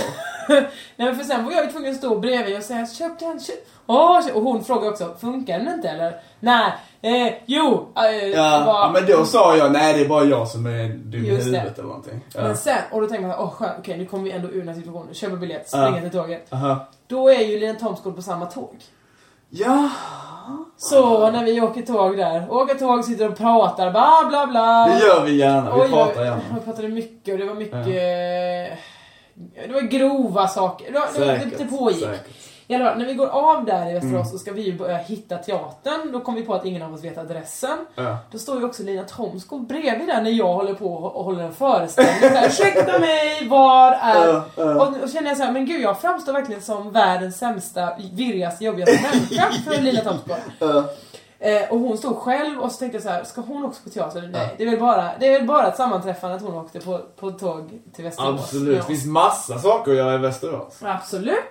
G: Nej men för sen var jag ju tvungen att stå bredvid och säga köp den, köp. Åh, köp." och hon frågade också, funkar den inte eller? Nej, eh, jo, eh,
H: Ja,
G: bara-
H: ja, men då sa jag nej det är bara jag som är dum i
G: Just det.
H: huvudet eller någonting. Ja.
G: Men sen, och då tänkte man åh skönt, okej nu kommer vi ändå ur den här situationen, köp en biljett, springa
H: Ja.
G: till tåget.
H: Aha.
G: Då är ju Lina Thomsgård på samma tåg.
H: Ja,
G: Så när vi åker tåg där, åker tåg, sitter och pratar, bla bla bla.
H: det gör vi gärna. Vi
G: Oj,
H: pratar
G: oj,
H: gärna.
G: Vi pratade mycket och det var mycket... eh, Det var grova saker. Det, var, det, var-
H: Säkert,
G: det pågick.
H: säkert. Mm.
G: I alla fall, när vi går av där i Västerås så ska vi ju börja hitta teatern. Då kom vi på att ingen av oss vet adressen.
H: Ja.
G: Då står ju också Lina Thomsgård bredvid där när jag håller på och håller en föreställning. Så här, Ursäkta mig, var är...
H: Ja, ja.
G: Och och känner jag så här, men gud jag framstår verkligen som världens sämsta, virrigaste, jobbigaste människa för Lina Thomsgård. Eh, och hon stod själv och så tänkte jag så här, ska hon också på teater? Nej, det är väl bara, det är väl bara ett sammanträffande att hon åkte på, på tåg till Västerås.
H: Absolut,
G: Ja.
H: det finns massa saker att göra i Västerås.
G: Absolut.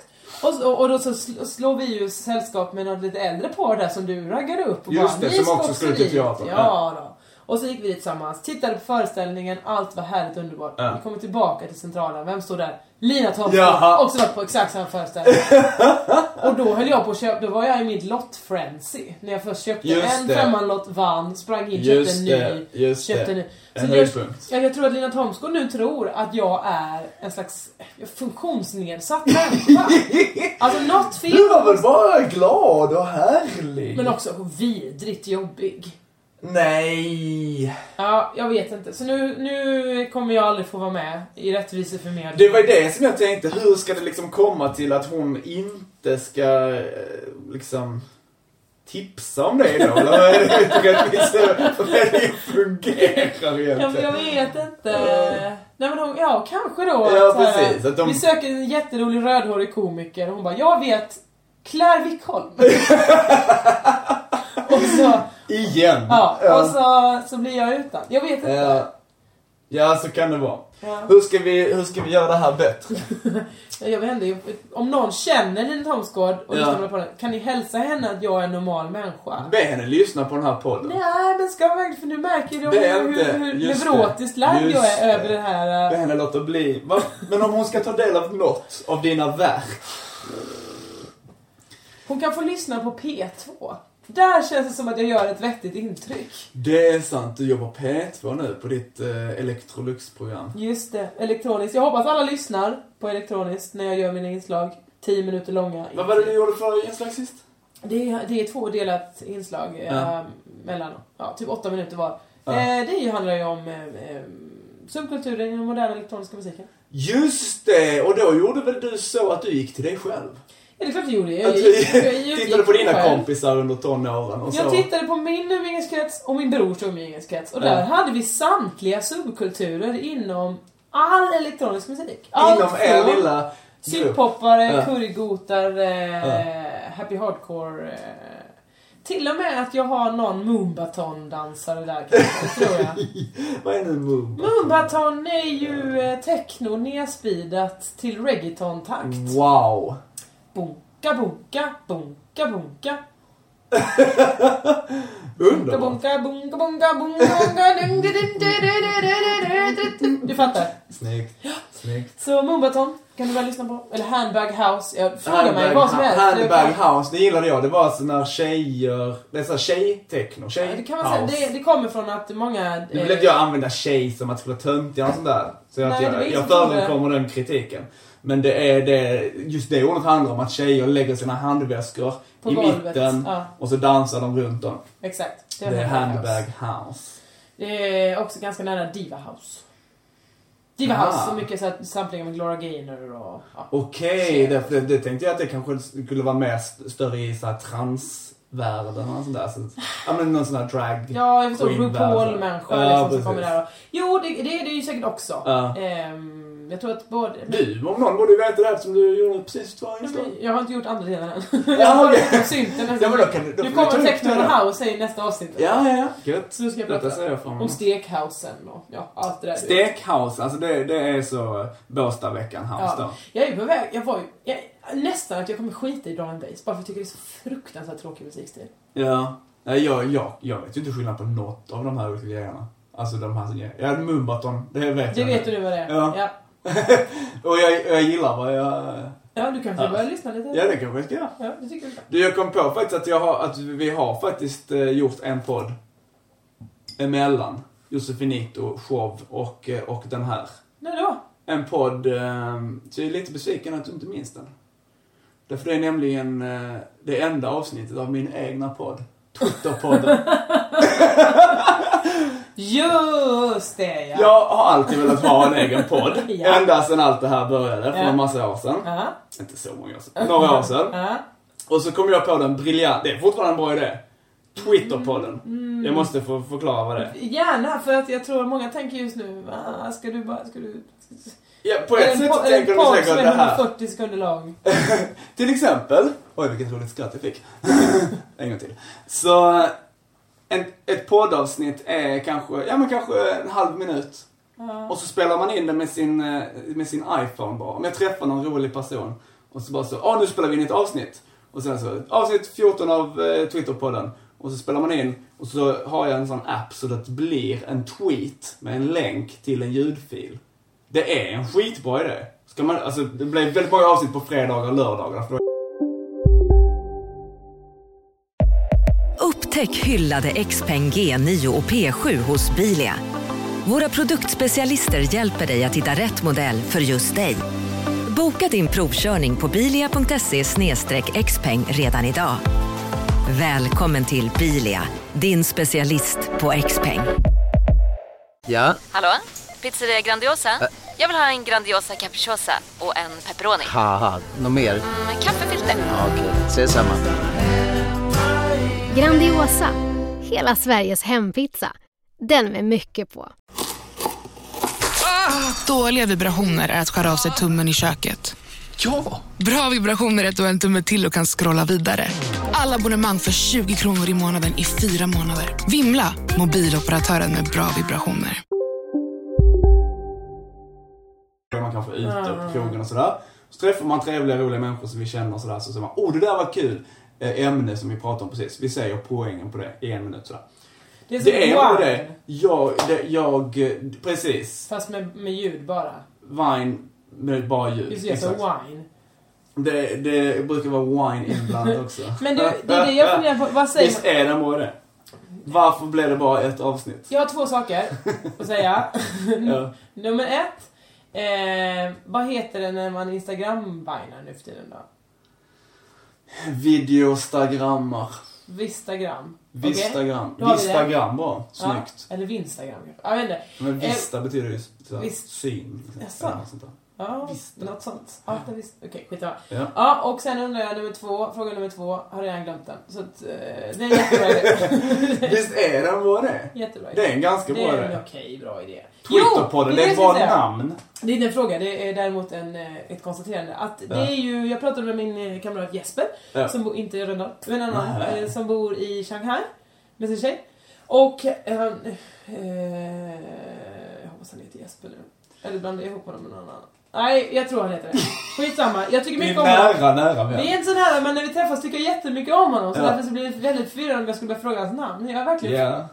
G: Och, så- och då så sl- slår vi ju sällskap med något lite äldre par där som du raggade upp. Och
H: Just
G: bara,
H: det,
G: "Ni
H: som också skulle till
G: dit."
H: teatern.
G: Ja, då. Och så gick vi dit tillsammans, tittade på föreställningen, allt var härligt och underbart.
H: Ja.
G: Vi kommer tillbaka till Centralen, vem står där? Lina Thomsgård,
H: Jaha.
G: också varit på exakt samma föreställning. och då höll jag på att köpa, då var jag i mitt lottfrenzy. När jag först köpte
H: Just
G: en
H: det.
G: femmanlott, vann, sprang in,
H: Just
G: köpte en
H: det,
G: ny.
H: just
G: köpte
H: det.
G: en ny.
H: En
G: jag,
H: höjdpunkt.
G: jag, jag tror att Lina Thomsgård nu tror att jag är en slags eh, funktionsnedsatt människa. Alltså något fel.
H: Du var väl bara glad och härlig?
G: Men också vidrigt jobbig.
H: Nej.
G: Ja, jag vet inte. Så nu, nu kommer jag aldrig få vara med i Rättviseförmedlingen.
H: Det var ju det som jag tänkte, hur ska det liksom komma till att hon inte ska eh, liksom tipsa om det då? Eller vad är det vi tycker att vi ska- vad är det som fungerar
G: Ja, men jag
H: egentligen?
G: vet inte. Nej men de, ja kanske då.
H: Ja,
G: Så här,
H: precis, att de-
G: Vi söker en jätterolig rödhårig komiker och hon bara, jag vet Claire Wickholm. och så,
H: Igen.
G: ja, och så, så blir jag utan. Jag vet inte.
H: Ja. Ja, så kan det vara.
G: Ja.
H: Hur, ska vi, hur ska vi göra det här bättre?
G: Ja, Jag vet inte, om någon känner Lina Thomsgård och
H: Ja. Mm.
G: lyssnar på den, kan ni hälsa henne att jag är en normal människa?
H: Be henne lyssna på den här podden.
G: Nej, men ska man verkligen, för nu märker du
H: Det är
G: hur,
H: inte-
G: hur, hur
H: just det.
G: neurotiskt lagd jag
H: Just
G: är
H: det.
G: över det här.
H: Be
G: eh,
H: henne låta bli. Va? Men om hon ska ta del av något av dina verk.
G: Hon kan få lyssna på P2. Där känns det som att jag gör ett vettigt intryck.
H: Det är sant, du jobbar P2 nu på ditt eh, Electrolux-program.
G: Just det, elektroniskt. Jag hoppas alla lyssnar på elektroniskt när jag gör mina inslag. 10 minuter långa.
H: Vad var det du gjorde för inslag sist?
G: Det är, det är två delat inslag eh,
H: Ja.
G: mellan ja, typ åtta minuter var.
H: Ja.
G: Eh, det är ju- handlar ju om eh, eh, subkulturen i den moderna elektroniska musiken.
H: Just det! Och då gjorde väl du så att du gick till dig själv?
G: Ja, det är klart jag gjorde. Jag,
H: Att
G: gick- jag
H: du
G: gick-
H: tittade på dina
G: själv.
H: kompisar under tonåren och
G: Jag
H: så.
G: tittade på min umgängeskrets och min brors umgängeskrets. Och där
H: Ja.
G: hade vi samtliga subkulturer inom all elektronisk musik. Allt
H: Inom er
G: från
H: lilla grupp.
G: Synthpoppare,
H: Ja.
G: currygotar, eh,
H: Ja.
G: happy hardcore. Eh, Till och med att jag har någon Moombaton-dansare där kanske, tror jag.
H: Vad är nu Mumba?
G: Moombaton är ju eh, techno nedspeedat till reggaeton-takt.
H: Wow!
G: Bunka, bunka, bunka, bunka. Bunka,
H: Underbart!
G: bunka, bunka, bunka, bunka, bunka, dun, dun, dun, dun, dun, dun, dun, dun. Du fattar.
H: Snyggt. Snyggt.
G: Så Moombaton kan du väl lyssna på. Eller Handbag House. Jag frågar mig vad som helst.
H: handbag house, det gillade jag. Det var alltså när tjejer... Det är såhär tjej-techno.
G: Ja,
H: Tjej
G: Eh, Det kan man säga. Det, det kommer från att många... eh,
H: Nu vill inte jag använda tjej som att skulle vara töntig eller sånt där. Så att
G: Nej, det är
H: jag,
G: vi
H: jag
G: som tror det.
H: förekommer den kritiken. Men det är det, just det ordet handlar om att tjejer lägger sina handväskor
G: På
H: i
G: golvet,
H: mitten
G: ja.
H: och så dansar de runt dem.
G: Exakt.
H: Det är handbag
G: House.
H: house.
G: Det är också ganska nära Diva House. Diva
H: Ah.
G: House, så mycket så att samplingar med Gloria Gaynor och... Ja.
H: Okej, det, det, det tänkte jag att det kanske skulle vara mer st- större i så här transvärlden och sånt där. Så, ja men någon sån här drag
G: Ja, jag förstår.
H: queen-värld.
G: RuPaul-människor
H: Ja,
G: liksom, som
H: precis.
G: kommer där och... Jo, det, det är det ju säkert också.
H: Ja.
G: Ehm, jag tror att både...
H: Du om någon borde ju veta det eftersom du gjorde precis två
G: Nej,
H: inslag.
G: men Jag har inte gjort andra delen än. Jag har bara
H: okej.
G: gjort synten nästa
H: Ja, men då kan du- då
G: Nu
H: får vi ta
G: kommer
H: upp
G: Techno
H: det då.
G: House i nästa avsnitt.
H: Ja, ja, ja. Gött.
G: Så nu ska jag
H: Detta
G: prata
H: ser jag fram
G: om
H: emot.
G: stekhousen och ja, allt det där.
H: Stekhouse, alltså det, det är så Båstadveckan house
G: Ja. Jag är på väg, jag var ju, jag, nästan att jag kommer skita i drum and bass bara för jag tycker det är så fruktansvärt tråkig musikstil.
H: då. Ja. Nej, jag, jag, jag vet ju inte skillnad på något av de här olika grejerna. Alltså de här som ger. Ja, Mumbaton, det vet
G: Det
H: jag.
G: vet du nu vad det är.
H: Ja.
G: ja.
H: Och jag, jag gillar vad jag...
G: Ja, du kanske
H: Ja.
G: börjar lyssna lite?
H: Ja, det kanske jag ska göra.
G: Ja, det tycker jag.
H: Du, jag kom på faktiskt att, jag har, att vi har faktiskt eh, gjort en podd emellan Josefinito show och, eh, och den här.
G: När då?
H: En podd, eh, så jag är lite besviken att du inte minns den. Därför det är nämligen eh, det enda avsnittet av min egna podd. Twitterpodden.
G: Just det ja!
H: Jag har alltid velat ha en egen podd.
G: Ja.
H: Ända sedan allt det här började för
G: Ja.
H: en massa år sedan.
G: Ja.
H: Inte så många år sedan. Några år sedan.
G: Ja.
H: Och så kom jag på den briljant, det är fortfarande en bra idé. Twitterpodden.
G: Mm.
H: Jag måste få förklara vad det är.
G: Gärna, för att jag tror att många tänker just nu, "Ah, ska du bara, ska du...
H: Ja, på ett sätt
G: po-
H: så tänker
G: en
H: de
G: podd som
H: säkert det
G: är
H: här.
G: 140 sekunder lång.
H: Till exempel. Oj, vilket roligt skratt jag fick. en gång till. Så, en, ett poddavsnitt är kanske, ja men kanske en halv minut. Och så spelar man in det med sin, eh, med sin iPhone bara. Om jag träffar någon rolig person och så bara så, ja nu spelar vi in ett avsnitt. Och sen så, avsnitt 14 av eh, Twitterpodden. Och så spelar man in och så har jag en sån app så det blir en tweet med en länk till en ljudfil. Det är en skitbra idé. Ska man, alltså, det blir väldigt många avsnitt på fredagar och lördagar. För då
I: Upptäck hyllade XPeng G9 och P7 hos Bilia. Våra produktspecialister hjälper dig att hitta rätt modell för just dig. Boka din provkörning på bilia.se xpeng redan idag. Välkommen till Bilia, din specialist på XPeng.
F: Ja,
J: Hallå? Pizzeria Grandiosa? Jag vill ha en Grandiosa capriciosa och en pepperoni.
F: haha, något mer?
J: Med kaffefilter.
F: Ja, Okej, ses samma.
I: Grandiosa, hela Sveriges hempizza. Den med mycket på.
J: Ah, Dåliga vibrationer är att skära av sig tummen i köket.
A: Ja!
J: Bra vibrationer är att du har en tumme till och kan scrolla vidare. Alla abonnemang för 20 kronor i månaden i fyra månader. Vimla! Mobiloperatören med bra vibrationer.
H: är man kanske ute
G: Ah.
H: på krogen och sådär. Så träffar man trevliga, roliga människor som vi känner och sådär. Så säger man, oh det där var kul eh, ämne som vi pratade om precis. Vi säger poängen på det i en minut sådär.
G: Det är som
H: Det är ju
G: wine,
H: det. Jag, det, jag, eh, precis.
G: fast med, med ljud bara.
H: Wine med bara ljud.
G: Just det, så
H: Exakt.
G: wine.
H: Det, det brukar vara wine inblandat också.
G: Men du, det är det jag funderar på. Vad säger man?
H: Visst är det en bra idé? Varför blev det bara ett avsnitt?
G: Jag har två saker att säga. mm.
H: Ja.
G: Nummer ett. Eh, vad heter det när man instagram-bajnar nu för tiden då?
H: Videostagrammar.
G: Vistagram. Okej?
H: Vistagram.
G: Då har vi det.
H: Vistagram bara.
G: Ja,
H: Snyggt.
G: Eller vinstagram kanske. Jag vet inte.
H: Men
G: Eh,
H: vista betyder ju så här,
G: visst.
H: syn.
G: Jaså?
H: liksom. Eller något sånt där.
G: Eh, Ja, något sånt. Ja, det visste. Okej, skitsamma.
H: Ja.
G: Ja. ja, och sen undrar jag nummer två, fråga nummer två, har redan glömt den. Så att, eh, det är en jättebra idé.
H: Visst är det en bra idé?
G: Jättebra idé.
H: Det är en ganska
G: Det
H: bra
G: är en
H: idé.
G: okej bra idé.
H: Twitterpodden, det är
G: jag
H: ett
G: skulle
H: bra
G: säga.
H: namn.
G: Det är inte en fråga, det är däremot en, eh, ett konstaterande. Att det
H: Ja.
G: är ju, jag pratade med min eh, kamrat Jesper,
H: Ja.
G: som bor, inte i Rönndahl, men en annan,
H: Nej.
G: eh, som bor i Shanghai med sin tjej. Och han, eh, jag hoppas han heter Jesper nu. Eller blandar jag ihop honom med någon annan? Nej, jag tror han heter det. Skitsamma, jag tycker
H: Det är
G: mycket om honom.
H: nära, nära vän.
G: Vi är inte så nära, men när vi träffas tycker jag jättemycket om honom. Så
H: Ja.
G: därför så blir det väldigt förvirrande om jag skulle börja fråga hans namn. Jag är verkligen...
H: Ja.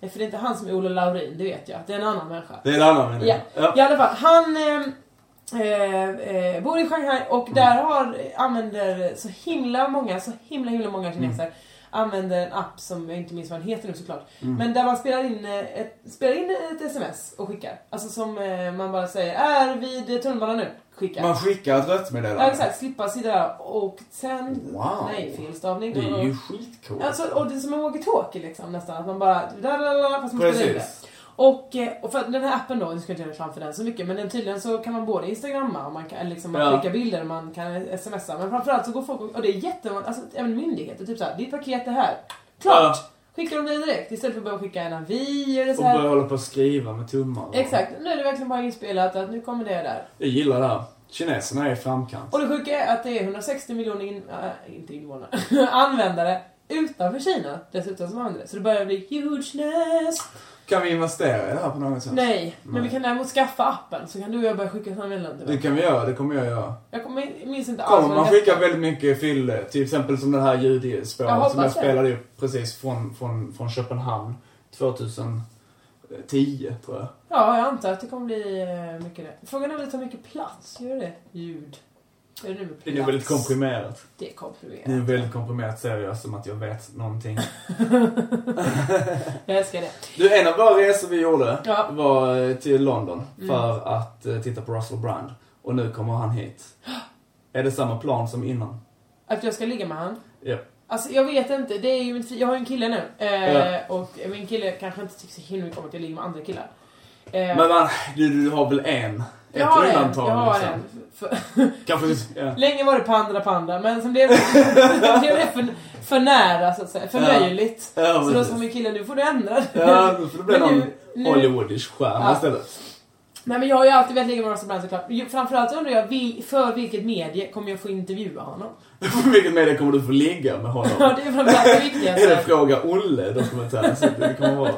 G: Nej, För det är inte han som är Olle Laurin, det vet jag. Det är en annan människa.
H: Det är en annan människa.
G: Ja. I alla fall, han eh, eh, bor i Shanghai
H: Mm.
G: och där har, använder så himla många, så himla himla många
H: Mm.
G: kineser använder en app som jag inte minns vad den heter nu såklart.
H: Mm.
G: Men där man spelar in, eh, ett, spelar in ett sms och skickar. Alltså som eh, man bara säger är vid tunnelbanan nu. Skicka.
H: Man skickar ett
G: Ja
H: röstmeddelande.
G: exakt, slippa sitta där och sen...
H: Wow.
G: Nej, felstavning.
H: Det är ju skitcoolt.
G: Alltså, och det är som en walkie-talkie liksom nästan. Att man bara... Da, da, da, fast man spelar in det.
H: Precis.
G: Och, eh, och för den här appen då, nu ska jag inte göra reklam för den så mycket, men den tydligen så kan man både instagramma och man kan eller liksom man
H: Ja.
G: skickar bilder och man kan smsa. Men framförallt så går folk och- och det är jättemånga, alltså även myndigheter, typ såhär, ditt paket är här. Klart! Skickar de det direkt istället för att börja skicka en avi eller
H: Och
G: så
H: börjar
G: här.
H: hålla på och skriva med tummarna.
G: Exakt, nu är det verkligen bara inspelat att nu kommer det där.
H: Jag gillar det här. Kineserna är i framkant.
G: Och det sjuka är att det är 160 miljoner in, äh, inte invånare, användare utanför Kina dessutom som använder det. Så det börjar bli hugeness.
H: Kan vi investera i det här på något sätt?
G: Nej, men
H: Nej.
G: vi kan däremot skaffa appen så kan du och jag börja skicka sådana meddelanden till
H: Det
G: varandra.
H: kan vi göra, det kommer jag göra.
G: Jag kommer, minns inte alls
H: Kommer
G: vad
H: man
G: den
H: skicka
G: hette.
H: väldigt mycket fylle, till exempel som det här
G: Jag
H: ljudspåret
G: hoppas
H: som jag
G: det.
H: spelade upp precis från, från, från Köpenhamn 2010, tror jag.
G: Ja, jag antar att det kommer bli eh, mycket det. Frågan är om det tar mycket plats. Gör det? Ljud. Är det nu med plats?
H: Det är nog väldigt komprimerat.
G: Det är
H: Det är
G: komprimerat.
H: en väldigt komprimerat serie alltså, som att jag vet någonting.
G: Jag älskar det.
H: Du, en av våra resor vi gjorde
G: Ja. Mm.
H: var eh, till London för att eh, titta på Russell Brand. Och nu kommer han hit. Är det samma plan som innan?
G: Att jag ska ligga med han.
H: Ja.
G: Alltså jag vet inte, det är ju mitt, jag har ju en kille nu. Eh,
H: Ja.
G: Och min kille kanske inte tycker så himla mycket om att jag ligger med andra killar. Eh,
H: Men man, du, du har väl en? Ett
G: jag har en,
H: undantag
G: jag har
H: liksom.
G: en. För,
H: Kanske, ja.
G: länge var det Pandra Panda, men sen blev det, sen blev det för, för nära så att säga. För
H: Ja.
G: möjligt.
H: Ja,
G: så då
H: precis.
G: sa min kille, nu får du ändra dig.
H: Ja, då får det bli
G: Men
H: någon
G: nu- nu-
H: Hollywoodish stjärna
G: Ja.
H: istället.
G: Nej men jag har ju alltid velat ligga med Russell Brand såklart. Ju- Framförallt undrar jag, vi- för vilket medie kommer jag få intervjua honom?
H: Vilket medie kommer du få ligga med honom?
G: Ja, det är framförallt det
H: Är det
G: viktigaste.
H: Fråga Olle dokumentären? Så det kommer vara.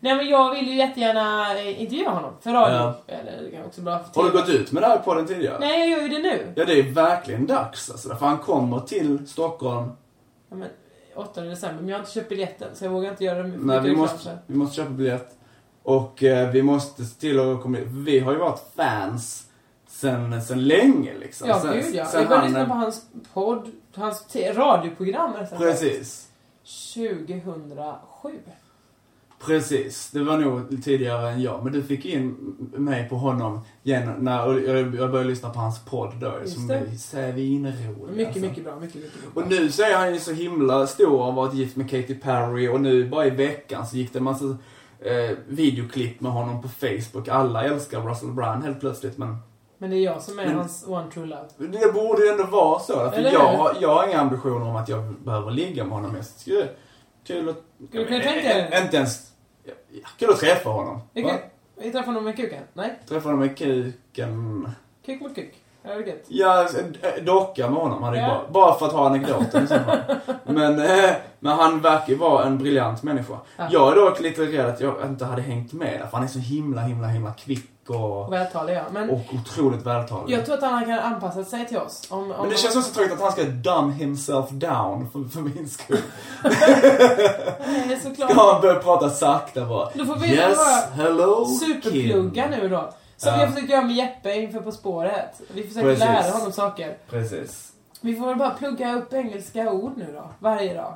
G: Nej men jag vill ju jättegärna eh, intervjua honom för radio. Eller det kan också vara för
H: Har du
G: TV.
H: gått ut med det här på den tidigare?
G: Nej jag gör ju det nu.
H: Ja, det är verkligen dags alltså. För han kommer till Stockholm.
G: Ja, men, 8 december, men jag har inte köpt biljetten så jag vågar inte göra mycket
H: Nej, vi,
G: reklam
H: måste,
G: för.
H: vi måste köpa biljett. Och eh, vi måste se till att komma hit. Vi har ju varit fans sen, sen länge liksom.
G: Ja
H: sen,
G: gud ja.
H: sen
G: Jag började
H: han-
G: lyssna på hans podd, hans te- radioprogram rättare sagt.
H: Precis.
G: 2007.
H: Precis, det var nog tidigare än jag. Men du fick in mig på honom igen när och jag jag började lyssna på hans podd då.
G: Just
H: som
G: det.
H: är svinrolig.
G: Mycket,
H: alltså.
G: mycket bra. Mycket, mycket bra.
H: Och nu så är han ju så himla stor. Han har varit gift med Katy Perry och nu bara i veckan så gick det en massa eh, videoklipp med honom på Facebook. Alla älskar Russell Brand helt plötsligt men
G: Men det är jag som är
H: Men-
G: hans one true love.
H: det borde ju ändå vara så. För
G: Eller
H: jag,
G: hur?
H: har- jag har inga ambitioner om att jag behöver ligga med honom. Jag skulle, kul att...
G: Skulle du kunna tänka dig det?
H: Inte ens... ja, Kul att träffa honom.
G: Vi
H: va?
G: kan- Vi träffar honom med kuken? Nej,
H: Träffa honom i kuken.
G: kuk mot kuk. Ja, det är gött.
H: Ja, en en docka med honom hade
G: Ja.
H: ja. bara, bara för att ha anekdoten i så fall. men, eh, men han verkar ju vara en briljant människa.
G: Ja.
H: Jag är dock lite rädd att jag inte hade hängt med där, för han är så himla, himla, himla kvick och,
G: Och vältalig ja. Men
H: och otroligt vältalig.
G: jag tror att han kan anpassa sig till oss. Om, om
H: men det känns också tråkigt att han ska dumb himself down för, för min skull.
G: Nej, såklart.
H: Ska han börja prata sakta bara.
G: Då får vi
H: yes,
G: bara
H: hello,
G: Superplugga
H: Kim."
G: nu då. Som
H: Ja.
G: vi har försökt göra med Jeppe inför På spåret. Vi försöker
H: Precis.
G: lära honom saker.
H: Precis.
G: Vi får väl bara plugga upp engelska ord nu då. Varje dag.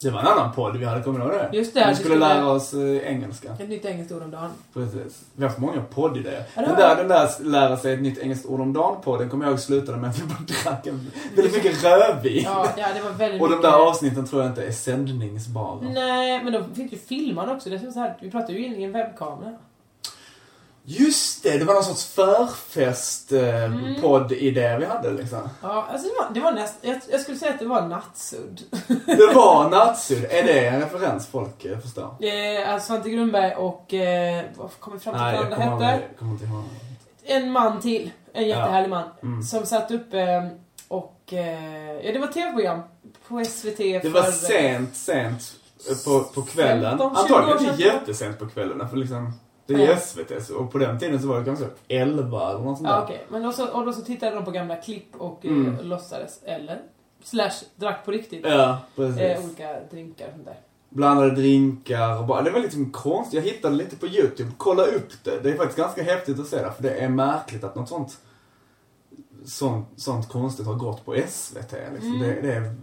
H: Det var en annan podd vi hade, kommer du ihåg det?
G: Just det,
H: Vi
G: vi
H: skulle
G: skulle-
H: lära oss eh, engelska.
G: Ett nytt engelskt ord om dagen.
H: Precis. Vi har haft många poddidéer.
G: Ja, det
H: Den
G: har
H: där,
G: vi.
H: den där lära sig ett nytt engelskt ord om dagen-podden kommer jag ihåg slutade med att vi bara drack en, väldigt mycket rödvin.
G: Ja, ja det var väldigt
H: och de
G: mycket-
H: där avsnitten tror jag inte är sändningsbara.
G: Nej, men då fick vi filma den också. Det är så här, vi pratar ju in i en webbkamera.
H: Just det, det var någon sorts
G: Mm.
H: ehm, förfest-podd-idé vi hade liksom.
G: Ja, alltså det var, det var näst, jag, jag skulle säga att det var nattsudd.
H: Det var nattsudd. Är det en referens folk eh, förstår?
G: Eh, alltså Svante Grundberg och, eh, vad kommer vi fram till vad
H: jag
G: han
H: kommer
G: hette?
H: aldrig- kommer inte ihåg.
G: En man till. En jättehärlig man.
H: Mm.
G: Som satt uppe eh, och, eh, ja det var tv-program på SVT
H: Det var sent, sent eh, på, på kvällen.
G: 15-20 år
H: Antagligen
G: sedan.
H: inte jättesent på kvällen för liksom, det är
G: Ja.
H: ju SVT så- och på den tiden så var det kanske 11 eller något sånt
G: Ja,
H: där.
G: okej. Men då så, och då så tittade de på gamla klipp och eh,
H: Mm.
G: låtsades, eller? Slash drack på riktigt.
H: Ja, precis.
G: Eh, olika drinkar och sånt där.
H: Blandade drinkar och bara, det var liksom konstigt. Jag hittade lite på YouTube, kolla upp det. Det är faktiskt ganska häftigt att se det, för det är märkligt att något sånt, sånt, sånt konstigt har gått på SVT. Liksom.
G: Mm.
H: Det, det är
G: Man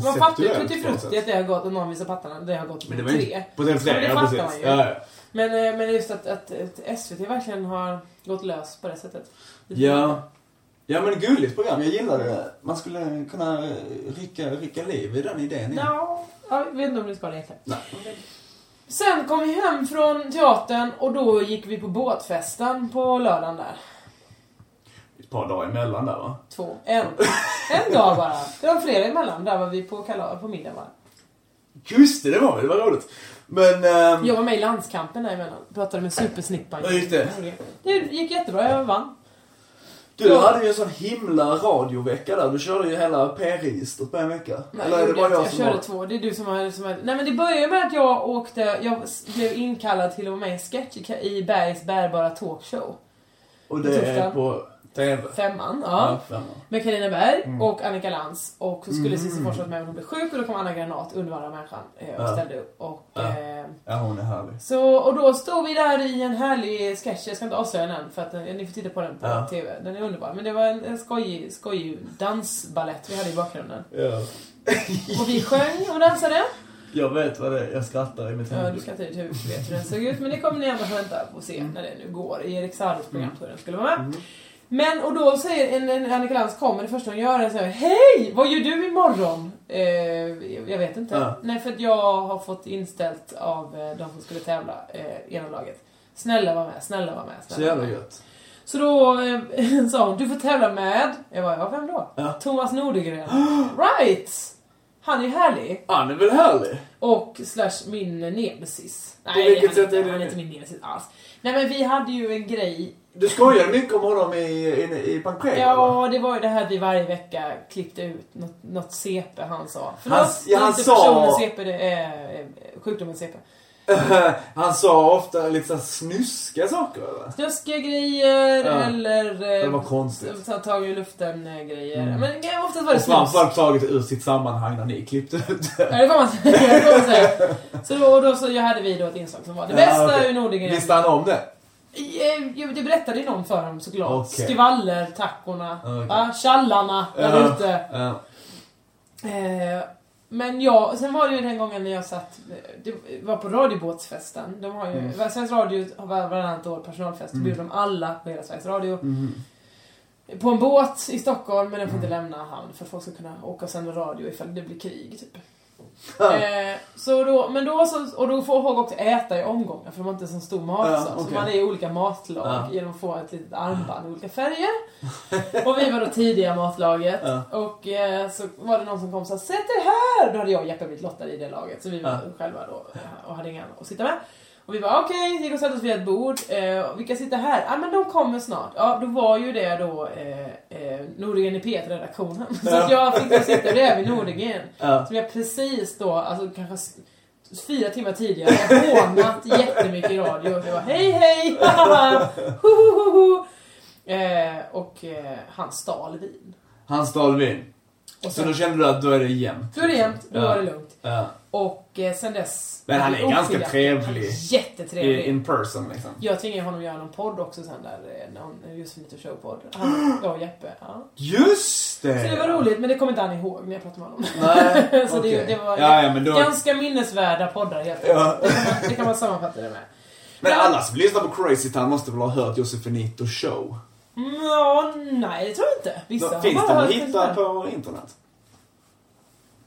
G: fattar ju
H: konceptuellt på något
G: tuttifrutti
H: sätt.
G: att det har gått, och någon visar pattarna, det har gått
H: Men det
G: på
H: var
G: tre.
H: inte på den
G: Ja,
H: tre,
G: det
H: ja
G: fattar
H: precis.
G: man ju.
H: Ja, ja.
G: Men, eh, men just att, att, att SVT verkligen har gått lös på det sättet.
H: Ja. Ja men gulligt program, jag gillade det. Man skulle kunna eh, rycka, rycka liv i den idén igen.
G: Ja, jag vet inte om det ska det egentligen.
H: Nej.
G: Sen kom vi hem från teatern och då gick vi på båtfesten på lördagen där.
H: Ett par dagar emellan där va?
G: Två. En. En dag bara. Det var flera emellan. Där var vi på kalas på middag bara.
H: Just det, det var det, var roligt. Men... ehm,
G: Jag var med i landskampen däremellan. Pratade med supersnippan.
H: Ja, just det.
G: Det gick jättebra. Jag vann.
H: Du hade ju en sån himla radiovecka där. Du körde ju hela P-registret på en vecka.
G: Nej,
H: Eller är det
G: gjorde
H: bara
G: jag
H: jag,
G: inte.
H: som
G: jag körde
H: var...
G: två. Det är du som har... Som har... Nej men det började med att jag åkte... Jag s- blev inkallad till att vara med i en sketch i- i Bergs bärbara talkshow.
H: Och det är på TV.
G: Femman, ja.
H: femman. Mm.
G: Med Karina Berg och Annika Lantz. Och så skulle Cissi Forsman vara med men hon blev sjuk och då kom Anna Granat, underbara människan, eh, och
H: Ja.
G: ställde upp. Och,
H: Ja.
G: eh,
H: Ja, hon är härlig.
G: så, och då stod vi där i en härlig sketch, jag ska inte avslöja den än för att eh, ni får titta på den på
H: Ja.
G: TV. Den är underbar. Men det var en, en skojig, skojig dansbalett vi hade i bakgrunden.
H: Ja.
G: Och vi sjöng och dansade.
H: Jag vet vad det är. Jag skrattar i mitt
G: Ja, du
H: huvud.
G: ska inte i ditt huvud vet hur den såg ut men det kommer ni ändå vänta på att se när det nu går. I Erik Saades program
H: Mm.
G: tror jag den skulle vara med. Men och då säger en, en Annika Lantz kommer, det första hon gör är så här, Hej! Vad gör du imorgon? Eh, jag, jag vet inte.
H: Ja.
G: Nej för att jag har fått inställt av eh, de som skulle tävla, eh, ena laget. Snälla var med, snälla var med. Snälla
H: Så
G: var
H: jävla
G: med.
H: gött.
G: Så då eh, sa hon, du får tävla med, jag bara, ja vem då?
H: Ja.
G: Thomas Nordegren. right! Han är härlig.
H: Han är väl härlig?
G: Och slash min nemesis. Nej,
H: vilket
G: han,
H: sätt är det
G: han är
H: nu?
G: inte min nemesis alls. Nej men vi hade ju en grej.
H: Du skojade mycket om honom i, i, i Pancreta, va?
G: Ja, det var ju det här att vi varje vecka klippte ut något, något CP han sa. Förlåt,
H: Han- ja, han
G: inte
H: sa-
G: personen CP, det är eh, sjukdomen CP.
H: Han sa ofta lite såhär snuska saker eller?
G: Snuskiga grejer
H: Ja.
G: eller... eh,
H: Det var konstigt. Mm.
G: Så tag i luften eh, grejer. Men eh, oftast var det
H: Och
G: snus.
H: framförallt taget ur sitt sammanhang när ni klippte ut
G: Ja,
H: det.
G: det får man säga. det får man säga. Så då, och då så hade vi då ett inslag som var det bästa
H: Ja, okej.
G: ur Nordegren.
H: Visste han om det?
G: Eh, Jo, det berättade ju någon för honom såklart.
H: Okej.
G: Skvaller, tackorna,
H: Okej.
G: va? tjallarna där
H: Ja,
G: ute.
H: ja.
G: Eh, men jag, sen var det ju den gången när jag satt, det var på radiobåtsfesten. De har ju,
H: Mm.
G: Sveriges Radio har var- varannat år personalfest, då bjuder de alla på hela Sveriges Radio.
H: Mm.
G: På en båt i Stockholm, men den får inte lämna hamn för att folk ska kunna åka och sända radio ifall det blir krig, typ. Eh, så då, men då så, och då får folk också äta i omgångar för de har inte så stor mat.
H: Ja,
G: så. så
H: okej.
G: man är i olika matlag
H: Ja.
G: genom att få ett litet armband i olika färger. och vi var då tidiga i matlaget.
H: Ja.
G: Och eh, så var det någon som kom och sa Sätt er här! Då hade jag och Jeppe blivit lottade i det laget. Så vi var
H: Ja.
G: själva då eh, och hade inga andra att sitta med. Och vi var okej, gick och satte oss vid ett bord. Eh, och vilka sitter här? Ja ah, men de kommer snart. Ja, då var ju det då eh, eh, Nordegren i P1-redaktionen. Så att jag fick då sitta bredvid Nordegren.
H: Ja.
G: Som jag precis då, alltså kanske s- fyra timmar tidigare, hånat jättemycket i radio. Jag var hej hej, haha, ho, ho, ho, ho. Eh, och eh, han stal vin.
H: Han stal vin.
G: Och
H: Så
G: sen,
H: då kände du att då är det jämnt?
G: då är det jämnt, då
H: Ja.
G: var det lugnt.
H: Ja.
G: Och eh, sen dess...
H: Men han är ganska
G: oskiljaktigt.
H: trevlig.
G: Han är
H: I,
G: Jättetrevlig.
H: in person liksom.
G: Jag tvingade honom att göra någon podd också sen där, eh, någon Josefinito Show-podd. Han, jag och Jeppe. Ja.
H: Just det!
G: Så det var roligt, men det kommer inte han ihåg när jag pratade med honom.
H: Eh, Nej,
G: så det,
H: okej.
G: det var
H: Ja, ja, men då-
G: ganska minnesvärda poddar helt enkelt.
H: Ja.
G: Det, kan man, det kan man sammanfatta det med.
H: Men alla som lyssnar på Crazy Town måste väl ha hört Josefinito show?
G: Mm, Ja, nej det tror jag inte. Vissa
H: Då,
G: har
H: finns
G: bara
H: den att
G: hört det
H: hitta
G: där.
H: på internet?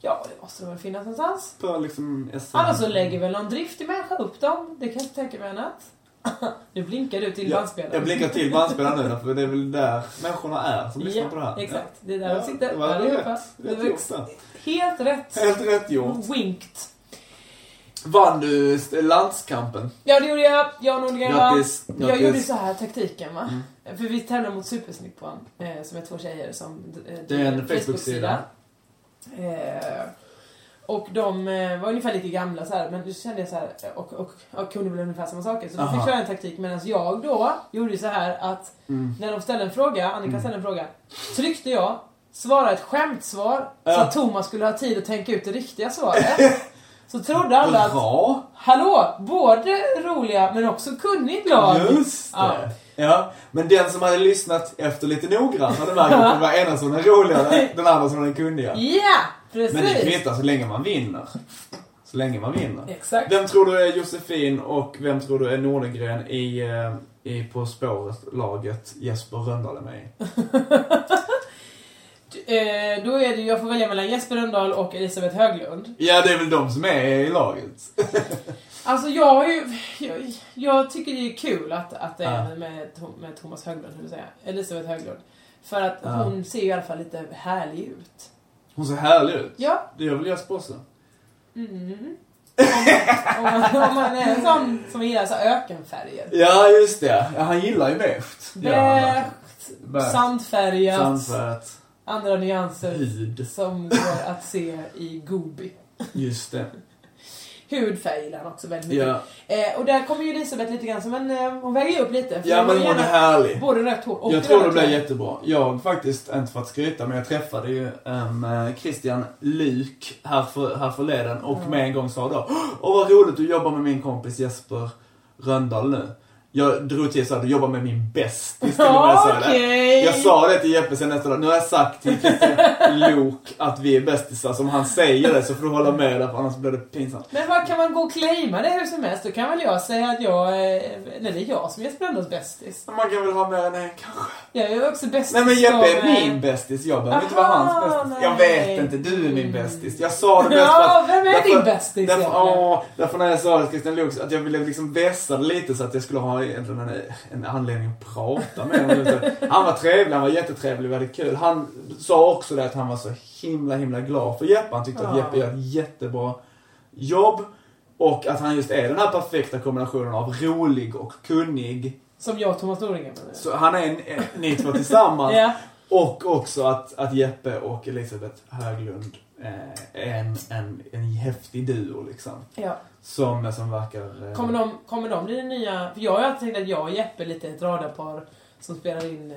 G: Ja, det måste väl finnas någonstans.
H: På liksom SM?
G: Annars så lägger väl någon driftig människa upp dem. Det kan jag inte tänka mig annat. Nu blinkar du till
H: Ja,
G: bandspelaren.
H: Jag blinkar till bandspelaren nu då, för det är väl där människorna är som lyssnar
G: Ja,
H: på det här.
G: exakt. Det är där de sitter,
H: det var
G: allihopa.
H: rätt,
G: Det var
H: rätt gjort
G: ex-
H: där.
G: Helt rätt.
H: Helt rätt gjort.
G: Winked.
H: Vann du st- landskampen?
G: Ja, det gjorde jag. Jag och Nordgren vann.
H: Grattis,
G: Jag
H: grattis. Mm.
G: gjorde så här taktiken va. För vi tävlar mot Supersnippan, eh, som är två tjejer som eh,
H: Det är en Facebook-sida.
G: Eh, och de eh, var ungefär lika gamla så här, men då kände jag så här eh, och, och, och kunde väl ungefär samma saker. Så då fick
H: Aha.
G: jag en taktik medan jag då gjorde ju så här att
H: Mm.
G: när de ställde en fråga, Annika ställde en fråga, tryckte jag, svarade ett skämtsvar så
H: Ja.
G: att Thomas skulle ha tid att tänka ut det riktiga svaret. Så trodde alla att
H: Bra!
G: Hallå! Både roliga men också kunnig lag.
H: Just
G: Ja.
H: det! Ja, men den som hade lyssnat efter lite noggrant hade märkt att det var ena som var den roligare, den andra som var den kunniga.
G: Ja! Precis!
H: Men det kvittar så länge man vinner. Så länge man vinner.
G: Exakt.
H: Vem tror du är Josefin och vem tror du är Nordengren i, eh, i På spåret-laget Jesper Rönndahl är med i?
G: Eh, då är det ju, jag får välja mellan Jesper Rönndahl och Elisabeth Höglund.
H: Ja, det är väl de som är i laget.
G: Alltså jag har ju... Jag, jag tycker det är kul att, att det är
H: Ja.
G: med, Tom- med Thomas Höglund, hur du säger. Elisabeth Höglund. För att
H: Ja.
G: hon ser ju i alla fall lite härlig ut.
H: Hon ser härlig ut.
G: Ja.
H: Det gör väl Jesper också?
G: Mm. Om, man, om, man, om man är en sån som gillar så här ökenfärger.
H: Ja, just det. Ja, han gillar ju beige. Ja, han verkar.
G: Beige, sandfärgat,
H: Sandfärgat.
G: andra nyanser.
H: Hud.
G: Som går att se i Gobi.
H: Just det.
G: Hudfärg gillar han också väldigt mycket.
H: Ja,
G: Eh, och där kommer ju Elisabeth lite grann som en... Eh, hon väger ju upp lite. för
H: ja men
G: har
H: hon är
G: gärna
H: härlig.
G: Både rött hår och
H: Jag tror det
G: röda
H: blir
G: kläder.
H: jättebra. Jag faktiskt, inte för att skryta, men jag träffade ju um, Christian Luk här, för, här förleden och med en gång sa då Åh vad roligt du jobbar med min kompis Jesper Rönndahl nu. Jag drog till så att du jobbar med min bästis till och med. sa jag det.
G: Okej.
H: Jag sa det till Jeppe sen nästa dag. Nu har jag sagt till Christian Lok att vi är bästisar. Som han säger det så får du hålla med där för annars blir det pinsamt.
G: Men vad kan man gå och claima det hur som helst? Då kan väl jag säga att jag... Eh, nej, det är jag som är Jesper Rönndahl bästis.
H: Man kan väl ha med en kanske.
G: Jag är ju också bästis
H: Nej men Jeppe är
G: som, eh,
H: min bästis, jag behöver inte vara
G: Aha,
H: hans bästis. Jag
G: nej.
H: vet inte, du är min bästis. Jag sa det mest
G: Ja,
H: för att-
G: vem är
H: därför-
G: din bästis
H: Därför,
G: egentligen?
H: åh, därför när jag sa det till Christian Luuk, att jag ville liksom vässa det lite så att jag skulle ha egentligen en, en anledning att prata med honom. lite. Han var trevlig, han var jättetrevlig, vi hade kul. Han sa också det att han var så himla, himla glad för Jeppe. Han tyckte att
G: Ja.
H: Jeppe gör ett jättebra jobb. Och att han just är den här perfekta kombinationen av rolig och kunnig.
G: Som jag och Thomas Norengren menar jag.
H: Så han är en, en, ni två tillsammans.
G: Ja.
H: Och också att, att Jeppe och Elisabeth Höglund eh, är en, en, en häftig duo liksom.
G: Ja.
H: Som, som verkar... Eh,
G: Kommer de, kommer de bli den nya... För jag har ju alltid tänkt att jag och Jeppe är lite ett radarpar som spelar in eh,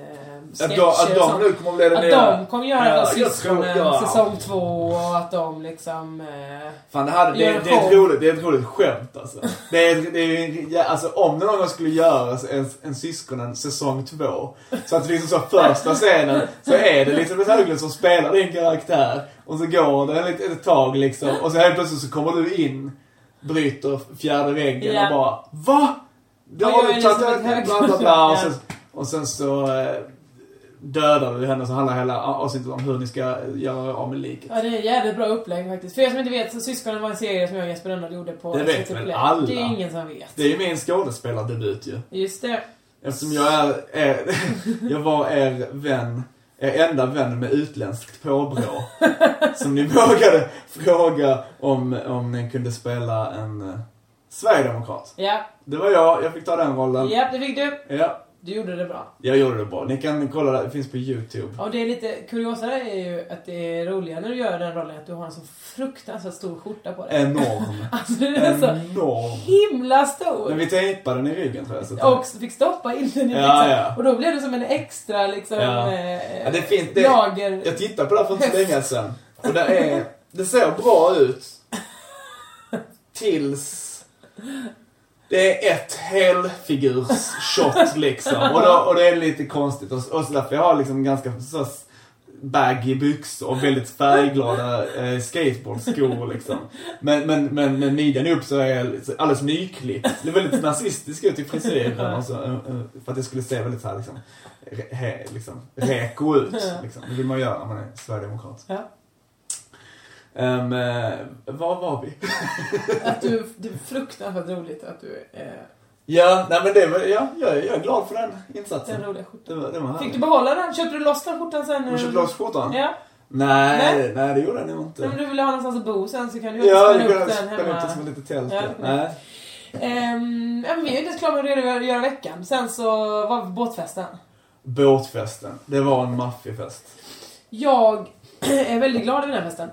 H: att,
G: sketcher
H: de, att
G: och sånt.
H: de nu kommer bli den
G: Att
H: nya-
G: de kommer göra
H: Ja,
G: ja,
H: jag tror-
G: syskonen
H: ja.
G: säsong två och att de liksom... Eh,
H: Fan, det, hade, det,
G: Gör en
H: det, är ett
G: show.
H: roligt, det är ett roligt skämt alltså. Det är, det är, ju- ja, alltså om det någon gång skulle göras en, en syskonen säsong två. Så att liksom så första scenen så är det Elisabeth Höglund som spelar din karaktär. Och så går det ett, ett tag liksom. Och så helt plötsligt så kommer du in, bryter fjärde väggen
G: Ja.
H: och bara VA? Då
G: Och
H: har
G: jag
H: du
G: är
H: tagit
G: Elisabeth
H: bla
G: Höglund.
H: bla bla. Och sen,
G: Ja.
H: och sen så eh, dödar du henne så handlar hela avsnittet om hur ni ska göra av med liket.
G: ja, det är ett jävligt bra upplägg faktiskt. För er som inte vet så Syskonen var en serie som jag och Jesper Rönndahl gjorde på
H: Det vet
G: SVT
H: väl
G: Play.
H: alla.
G: Det är ingen som vet.
H: Det är ju min skådespelardebut ju.
G: Just det.
H: Eftersom jag är, är jag var er vän, er enda vän med utländskt påbrå. som ni vågade fråga om, om ni kunde spela en eh, Sverigedemokrat.
G: Ja,
H: Det var jag, jag fick ta den rollen.
G: ja det fick du.
H: Ja,
G: Du gjorde det bra.
H: jag gjorde det bra. Ni kan kolla, det finns på YouTube.
G: Och det är lite kuriosa där är ju att det är roligare när du gör den rollen att du har en så fruktansvärt stor skjorta på dig.
H: Enorm.
G: Alltså den är så
H: Enorm.
G: himla stor.
H: Men vi tejpade den i ryggen tror jag. Så att-
G: Och fick stoppa in den i
H: Ja,
G: byxan.
H: ja.
G: Och då blev det som en extra liksom,
H: Ja.
G: eh,
H: Ja, det är fint. Det,
G: lager.
H: Jag tittade på det här för inte så länge sedan. Och det, är, det ser bra ut. Tills... Det är ett helfigurs-shot liksom. Och, då, och det är lite konstigt. Och, och så därför jag har liksom ganska så här baggy byxor och väldigt färgglada eh, skateboardskor liksom. Men, men, men, men midjan upp så är jag liksom alldeles nyklippt. Det är väldigt nazistisk ut i frisyren och så, eh, eh, För att det skulle se väldigt så här liksom, re, he, liksom reko ut. Liksom. Det vill man göra när man är sverigedemokrat.
G: Ja.
H: Um, var var vi?
G: Att du, det är fruktansvärt roligt att du eh,
H: Ja, nej men det var, ja, jag, är- jag är glad för den insatsen.
G: Den roliga
H: Det var, det var
G: Fick
H: härligt.
G: du behålla den? Köpte du loss den skjortan sen?
H: Hon köpte loss skjortan?
G: Ja.
H: Nej,
G: Nej.
H: nej, det gjorde den ju inte.
G: Men om du ville ha någonstans att bo sen så kan du ju
H: Ja,
G: spänna
H: jag
G: upp
H: kunde
G: den
H: spänna upp
G: hemma.
H: det som ett litet tält.
G: Ja,
H: Ja,
G: det kunde
H: nej.
G: Ehm, ja, men vi är ju inte ens klara med att redogöra göra veckan. Sen så var vi på båtfesten.
H: Båtfesten. Det var en maffiefest.
G: Jag är väldigt glad i den här festen.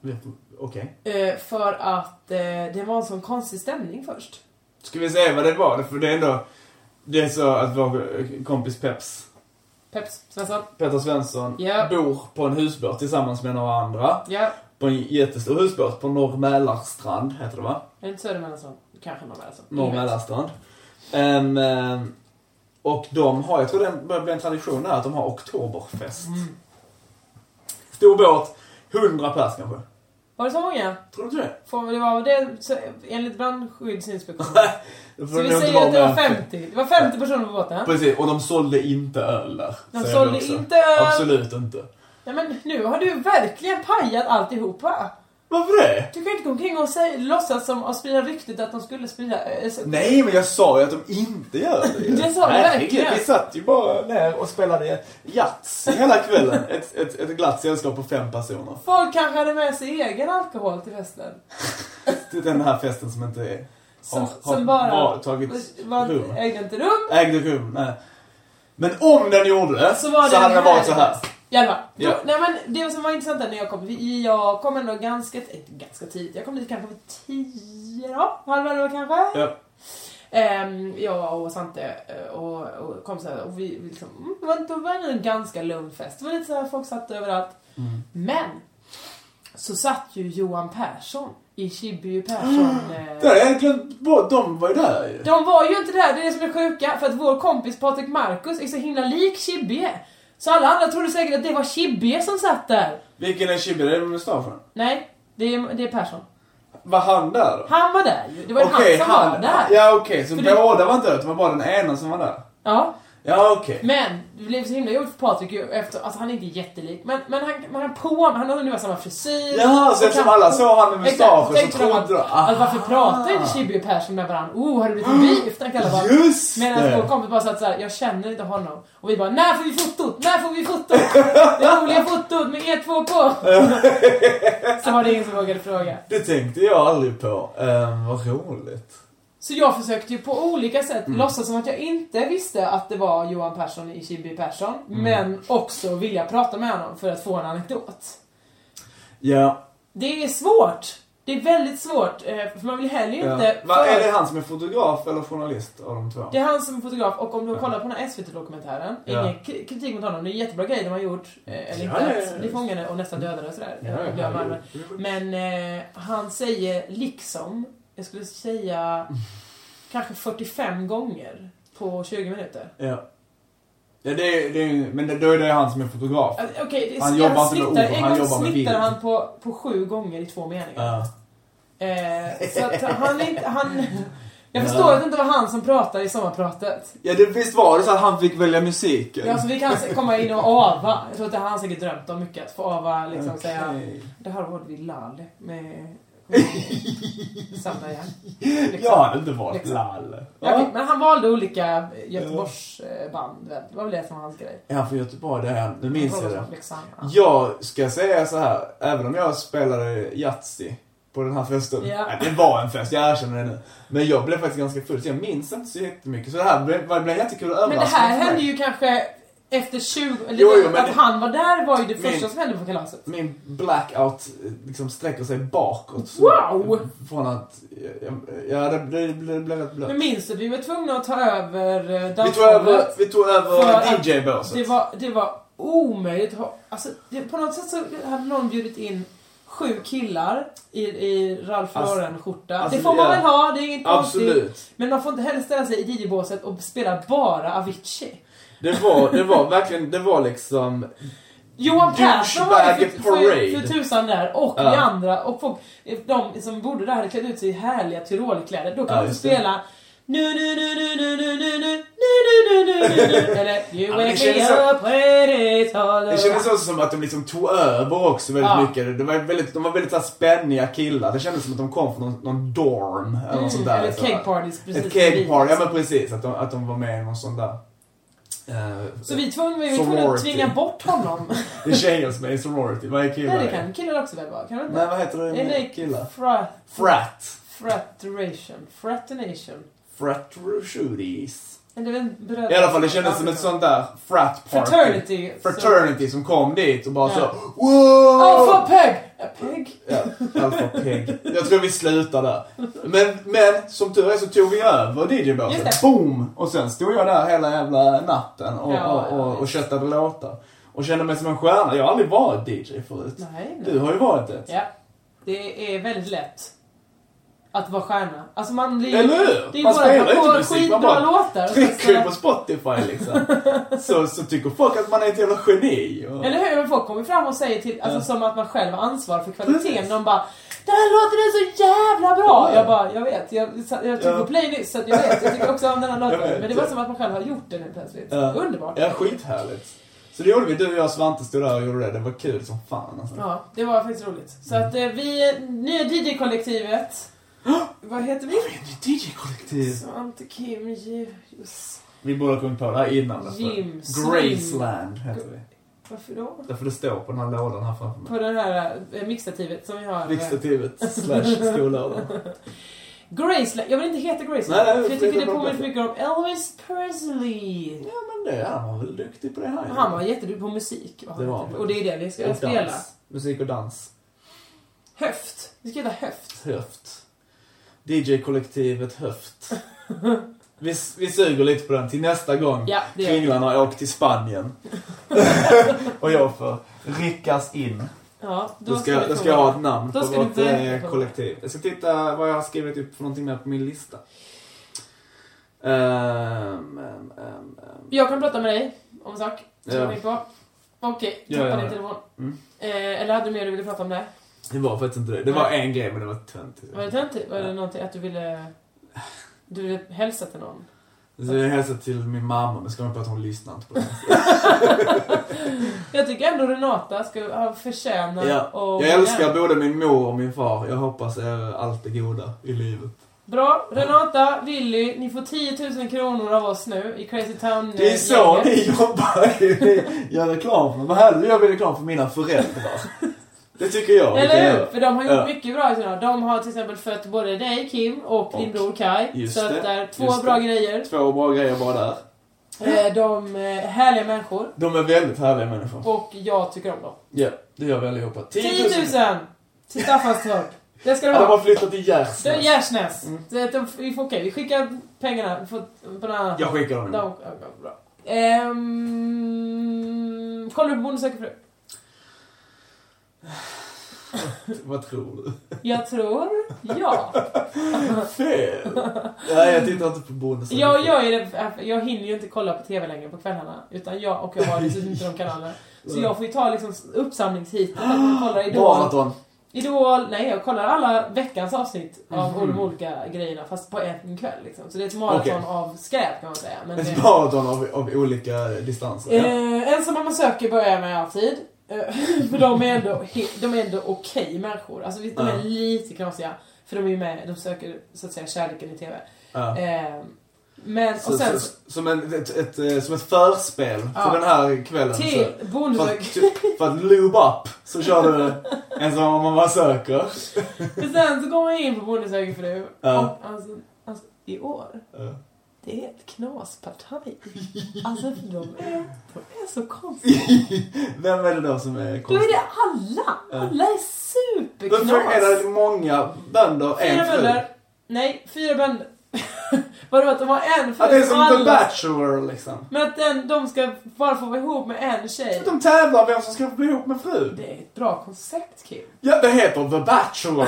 H: Vet du- Okej.
G: Eh, för att eh, det var en sån konstig stämning först.
H: Ska vi säga vad det var? För det är ändå... Det är så att vår kompis Peps,
G: Peps Svensson.
H: Peter Svensson,
G: Ja.
H: bor på en husbåt tillsammans med några andra.
G: Ja.
H: På en jättestor husbåt på Norr Mälarstrand, heter det va?
G: Är det inte Söder Mellansson? Kanske någon Mellansson.
H: Norr
G: Ingen vet.
H: Mälarstrand. Ehm, ehm, och de har, jag tror det börjar bli en tradition här, att de har oktoberfest. Stor båt, 100 pers kanske.
G: Var det så många?
H: Tror du inte det?
G: Får vi- det var det så, enligt brandskyddsinspektionen.
H: Det får
G: Så
H: nog
G: vi
H: inte
G: säger
H: vara
G: att det var
H: mer än
G: 50. Det var 50 personer på båten.
H: Precis, och de sålde inte öl där.
G: De
H: säger
G: sålde
H: vi också.
G: inte öl.
H: Absolut inte.
G: Nej men nu har du verkligen pajat alltihopa.
H: Varför det?
G: Du kan inte gå omkring och säga, låtsas som och sprida ryktet att de skulle sprida... eh, så-
H: Nej, men jag sa ju att de inte gör det.
G: Det sa du
H: Herregud,
G: verkligen.
H: Vi satt ju bara ner och spelade Yatzy hela kvällen. Ett, ett, ett glatt sällskap på fem personer.
G: Folk kanske hade med sig egen alkohol till festen.
H: Det är den här festen som inte är...
G: Som,
H: har,
G: som
H: har
G: bara...
H: var- tagit
G: var,
H: rum.
G: ägde inte rum.
H: Ägde rum, nej. Men om den gjorde det,
G: Så
H: så,
G: var det
H: hade
G: en
H: den varit så här.
G: härlig I alla fall.
H: Ja.
G: Då- Nej men det som var intressant där när jag kom, vi- jag kom ändå ganska, t- ganska tidigt, jag kom dit kanske vid tio då, halv elva kanske.
H: Ja.
G: Ehm, jag och Svante eh, och, och kom så här, och vi, vi liksom, mm, det var inte- det var en ganska lugn fest. Det var lite så här, folk satt överallt. Men, så satt ju Johan Persson i Chibbye Persson. eh,
H: Det hade jag glömt bort. De var ju där ju.
G: de var ju inte där, det är det som är sjuka. För att vår kompis Patrik Markus är så himla lik Chibbye. Så alla andra trodde säkert att det var Chibbye som satt där.
H: Vilken är Chibi? Det är mustaschen.
G: Nej, det är, det är Persson.
H: Var han där då?
G: Han var där ju. Det var ju
H: Okej,
G: han som var där.
H: Ja okej, så
G: För det-
H: båda var inte där. Det var bara den ena som var där.
G: Ja.
H: Ja okej.
G: Men det blev så himla jobbigt för Patrik ju efter, alltså han är inte jättelik, men, men han, men han på, han har ungefär samma frisyr.
H: Jaha, så
G: Och
H: eftersom
G: kan-
H: alla såg han med
G: Exakt,
H: mustaschen
G: tänkte
H: så
G: de
H: trodde Ah. de...
G: att, att varför pratar inte Chibbye och Persson med varandra? Oh, har det blivit en beef? Tänkte alla bara.
H: Just
G: Medan vår
H: det!
G: kompis bara satt såhär, jag känner inte honom. Och vi bara, när får vi fotot? När får vi fotot? Det roliga fotot med er två på. så var det ingen som vågade fråga.
H: Det tänkte jag aldrig på. Um, vad roligt.
G: Så jag försökte ju på olika sätt
H: Mm.
G: låtsas som att jag inte visste att det var Johan Persson i Chibi Persson.
H: Mm.
G: Men också vilja prata med honom för att få en anekdot.
H: Ja.
G: Det är svårt. Det är väldigt svårt. eh, För man vill heller ju
H: ja.
G: inte...
H: Va,
G: för-
H: är det han som är fotograf eller journalist av de två?
G: Det är han som är fotograf och om du kollar på den här SVT-dokumentären,
H: Ja.
G: ingen k- kritik mot honom, det är jättebra grejer de har gjort. eh, Eller
H: Ja,
G: inte
H: ja,
G: att
H: ja.
G: bli fångade och nästan dödade och sådär.
H: Ja,
G: Jag blir av med
H: herregud.
G: armen. Men eh, han säger liksom, jag skulle säga
H: Mm.
G: kanske 45 gånger på 20 minuter.
H: Ja. Ja, det är, det är, men det, då är det han som är fotograf.
G: Alltså, Okej, det är-
H: Han jobbar inte med
G: snittar-
H: ord,
G: en
H: han
G: gång
H: jobbar med bild.
G: snittar han på, på sju gånger i två meningar.
H: Ja.
G: Eh, så att han är inte, han... Jag förstår att det inte var han som pratade i sommarpratet.
H: ja, det, visst var det så att han fick välja musiken?
G: Ja, så vi kan komma in och ava. Jag tror att det har han säkert drömt om mycket. Att få ava, liksom
H: Okej.
G: säga Det här var vi lall med... Samla igen.
H: Jag hade inte varit
G: Liksom.
H: lall.
G: Ja,
H: Ja.
G: okej, men han valde olika Göteborgsband. väl? Det var väl det som var hans grej.
H: Ja, för Göteborg, det är Nu minns jag det.
G: Leksand, ja.
H: Jag ska säga så här, även om jag spelade Yatzy på den här festen.
G: Ja.
H: Nej, det var en fest, jag erkänner det nu. Men jag blev faktiskt ganska full, så jag minns inte så jättemycket. Så det här blev, det blev en jättekul
G: Men
H: överraskning
G: det här
H: för mig.
G: hände ju kanske efter 20... Eller
H: Jo, jo, men
G: att
H: det-
G: han var där var ju det första
H: Men-
G: som hände på kalaset.
H: Min blackout eh, liksom sträcker sig bakåt. Så-
G: Wow!
H: Från att... jag- jag- Ja, det blev, det blev, det blev rätt blött.
G: Men minns du? Vi var tvungna att ta över eh,
H: Vi tog över,
G: dansgolvet.
H: vi tog
G: För
H: över
G: att Det
H: DJ-båset.
G: var, det var omöjligt. att ha- Alltså, det, på något sätt så hade någon bjudit in sju killar i, i Ralph
H: Alltså-
G: Lauren-skjorta.
H: alltså,
G: det får man
H: ja.
G: väl ha, det är inget konstigt.
H: Absolut.
G: Men man får inte heller ställa sig i DJ-båset och spela bara Avicii.
H: Det var, det var verkligen, det var liksom...
G: Johan Persson var ju för,
H: Douchebag parade.
G: för, för tusan där och
H: Ja.
G: vi andra och folk, eh, de som bodde där hade klätt ut sig i härliga tyrolerkläder. Då kan
H: Ja,
G: man
H: just
G: spela nu nu nu nu nu nu nu nu nu nu nu nu Eller You
H: Ja, men det
G: wake me
H: kändes så-
G: up when it's all
H: Det kändes
G: over.
H: också som att de liksom tog över också väldigt
G: Ja.
H: mycket. Det var väldigt, de var väldigt så här spänniga killar. Det kändes som att de kom från någon, någon dorm eller
G: Mm,
H: något sånt där.
G: eller
H: liksom.
G: cake parties, precis liksom.
H: Ett
G: som vi.
H: cake party, ja men precis. Att de, att de var med i någon sån där... eh,
G: Så vi tvungna, vi var tvungna att
H: sorority.
G: tvinga bort honom.
H: Det är tjejer som är i sorority. Vad är killar?
G: Nej det kan killar också väl vara? Kan de inte?
H: Nej, vad heter det med
G: Eller
H: killar?
G: Fra,
H: Frat.
G: fratration. Fratination.
H: Fraternities.
G: Eller det är väl bröder-
H: I alla fall det kändes som ett sånt där frat party.
G: Fraternity.
H: Fraternity som kom dit och bara
G: Ja.
H: så
G: Så-
H: Wow!
G: Alpha Peg! A Peg?
H: Ja, Alpha Pig. Jag tror vi slutar där. Men, men som tur är så tog vi över
G: Just
H: DJ-båten.
G: det.
H: Boom! Och sen stod jag där hela jävla natten och,
G: Ja,
H: och,
G: ja,
H: och, och köttade låtar. Och kände mig som en stjärna. Jag har aldrig varit DJ förut.
G: Nej, nej.
H: Du har ju varit det.
G: Ja. Det är väldigt lätt. Att vara stjärna. Alltså man blir
H: Eller hur?
G: Det är
H: man
G: bara
H: spelar
G: att
H: ju
G: ta
H: inte
G: på
H: musik, man
G: skitbra
H: bara
G: låtar. och sen
H: trycker
G: så-
H: på Spotify liksom. så, så tycker folk att man är ett jävla geni. Och...
G: Eller hur? Men folk kommer fram och säger till, alltså som att man själv har ansvar för kvaliteten.
H: Precis.
G: De bara Den här låten är så jävla bra!
H: Ja.
G: Jag bara, jag vet. Jag, jag tyckte
H: Ja.
G: på play nyss så att jag vet. Jag tycker också om den här
H: Jag
G: låten.
H: vet.
G: Men det var som att man själv har gjort den nu plötsligt.
H: Ja.
G: Underbart.
H: Ja, skithärligt. Så det gjorde vi. Du, och jag och Svante stod där och gjorde det. Det var kul som fan alltså.
G: Ja, det var faktiskt roligt. Så att eh, vi, nya DJ-kollektivet. Vad heter vi?
H: DJ-kollektiv.
G: Svante, Kim, Ljus.
H: Vi borde ha kommit på det här innan. därför.
G: Jim,
H: Graceland heter vi.
G: Varför då?
H: Därför det står på den här lådan här framför mig.
G: På det här eh, mixtativet som vi har. eh,
H: Riksdativet slash skollådan.
G: Graceland. Jag vill inte heta Graceland.
H: Nej,
G: för
H: nej,
G: jag
H: det
G: tycker
H: är
G: det
H: bra
G: påminner
H: bättre.
G: för mycket om Elvis Presley.
H: Ja men det, han var väl duktig på det här.
G: Han var jätteduktig på musik. Var han
H: Det var han
G: jätteduktig.
H: väl.
G: och det är det vi ska
H: Och
G: spela.
H: dans. Musik och dans.
G: Höft. Vi ska heta Höft.
H: Höft. DJ-kollektivet Höft. Vi, vi suger lite på den till nästa gång.
G: Ja, det gör vi.
H: Kringlan har åkt till Spanien. och jag får ryckas in.
G: Ja, då
H: Då ska,
G: vi
H: jag- då
G: prova.
H: ska jag ha ett namn
G: Då
H: på
G: ska du
H: vårt
G: verkligen
H: eh,
G: prova.
H: kollektiv. Jag ska titta vad jag har skrivit upp för någonting mer på min lista. Ehm, ehm, ehm, ehm.
G: Jag kan prata med dig om en sak. Som
H: Ja.
G: jag tänkte på. Okej,
H: Ja,
G: tappa
H: ja,
G: din
H: ja.
G: telefon.
H: Mm.
G: Eh, eller hade du mer du ville prata om det?
H: Det var faktiskt inte det. Det var en grej men det var töntigt.
G: Var det töntigt? Var det
H: Ja.
G: någonting att du ville... Du ville hälsa till någon?
H: Så jag hälsade till min mamma men ska man på att hon lyssnar inte på det.
G: Jag tycker ändå Renata ska ha förtjäna
H: Ja.
G: och
H: Jag älskar både min mor och min far. Jag hoppas er allt det goda i livet.
G: Bra, Renata, Willy, ni får 10 000 kronor av oss nu i Crazy Town eh,
H: Det är så
G: gänget.
H: ni jobbar! Ni gör reklam för mig. Vad härligt, jag gör reklam för mina föräldrar. Det tycker jag. vi kan
G: Eller hur?
H: göra.
G: För de har gjort
H: Ja.
G: mycket bra i sina De har till exempel fött både dig Kim och, din
H: Och-
G: bror Kai.
H: just
G: Så att
H: det,
G: det är två
H: just
G: bra
H: det.
G: grejer.
H: Två bra grejer bara där.
G: Eh, De är härliga människor.
H: De är väldigt härliga människor.
G: Och jag tycker om dem.
H: Ja, det gör vi allihopa.
G: 10 000! Till Staffanstorp. Det ska
H: Ja,
G: de
H: de har
G: ha.
H: flyttat till
G: Det är
H: Gärsnäs.
G: Gärsnäs.
H: Mm.
G: Det- de- vi får- Okej, vi skickar pengarna. Vi får- På den här.
H: Jag skickar dem.
G: De, ja, ja, bra. Ehm, kollar du på Bonde söker fru?
H: Vad tror du?
G: Jag tror ja.
H: Fel! Nej, jag tittar inte på bonus.
G: Jag gör ju det, jag hinner ju inte kolla på TV längre på kvällarna. Utan jag och jag har dessutom inte de kanalerna. Så jag får ju ta liksom uppsamlingsheatet. att Jag kollar Idol.
H: Maraton.
G: Idol. Nej, jag kollar alla veckans avsnitt av de olika grejerna. Fast på en kväll liksom. Så det är ett maraton
H: Mhm. Okej.
G: av skräp kan man säga. Men det,
H: Ett maraton av, av olika distanser. Ja.
G: eh, ensamma man söker börjar jag med alltid. Eh, För de är ändå, he- de är ändå okej människor. Alltså visst, de är
H: Ja.
G: lite knasiga. För de är ju med, de söker så att säga kärleken i TV.
H: Ja.
G: Eh, men,
H: Så,
G: och sen
H: så, som, en, ett, ett, eh, som ett förspel till
G: Ja.
H: den här kvällen.
G: till
H: så, för,
G: Bonde
H: att,
G: söker
H: typ, för att lube up så kör du en som man bara söker.
G: Men sen så kommer han in på Bonde söker fru.
H: Ja.
G: Och alltså, alltså, i år.
H: Ja.
G: Det är ett knasparti. Alltså för de är, de är så konstiga.
H: Vem är det då som är
G: Då är
H: konstig?
G: det alla. Alla är superknas.
H: Varför är det många bönder, en
G: Fyra
H: fru?
G: bönder. Nej, fyra bönder. Vadå att de har en fru?
H: Att det är som
G: och
H: The
G: alla-
H: Bachelor liksom.
G: Men att den, de ska bara få vara ihop med en tjej.
H: De tävlar vem som ska bli ihop med frun.
G: Det är ett bra koncept Kim.
H: Ja, det heter The Bachelor.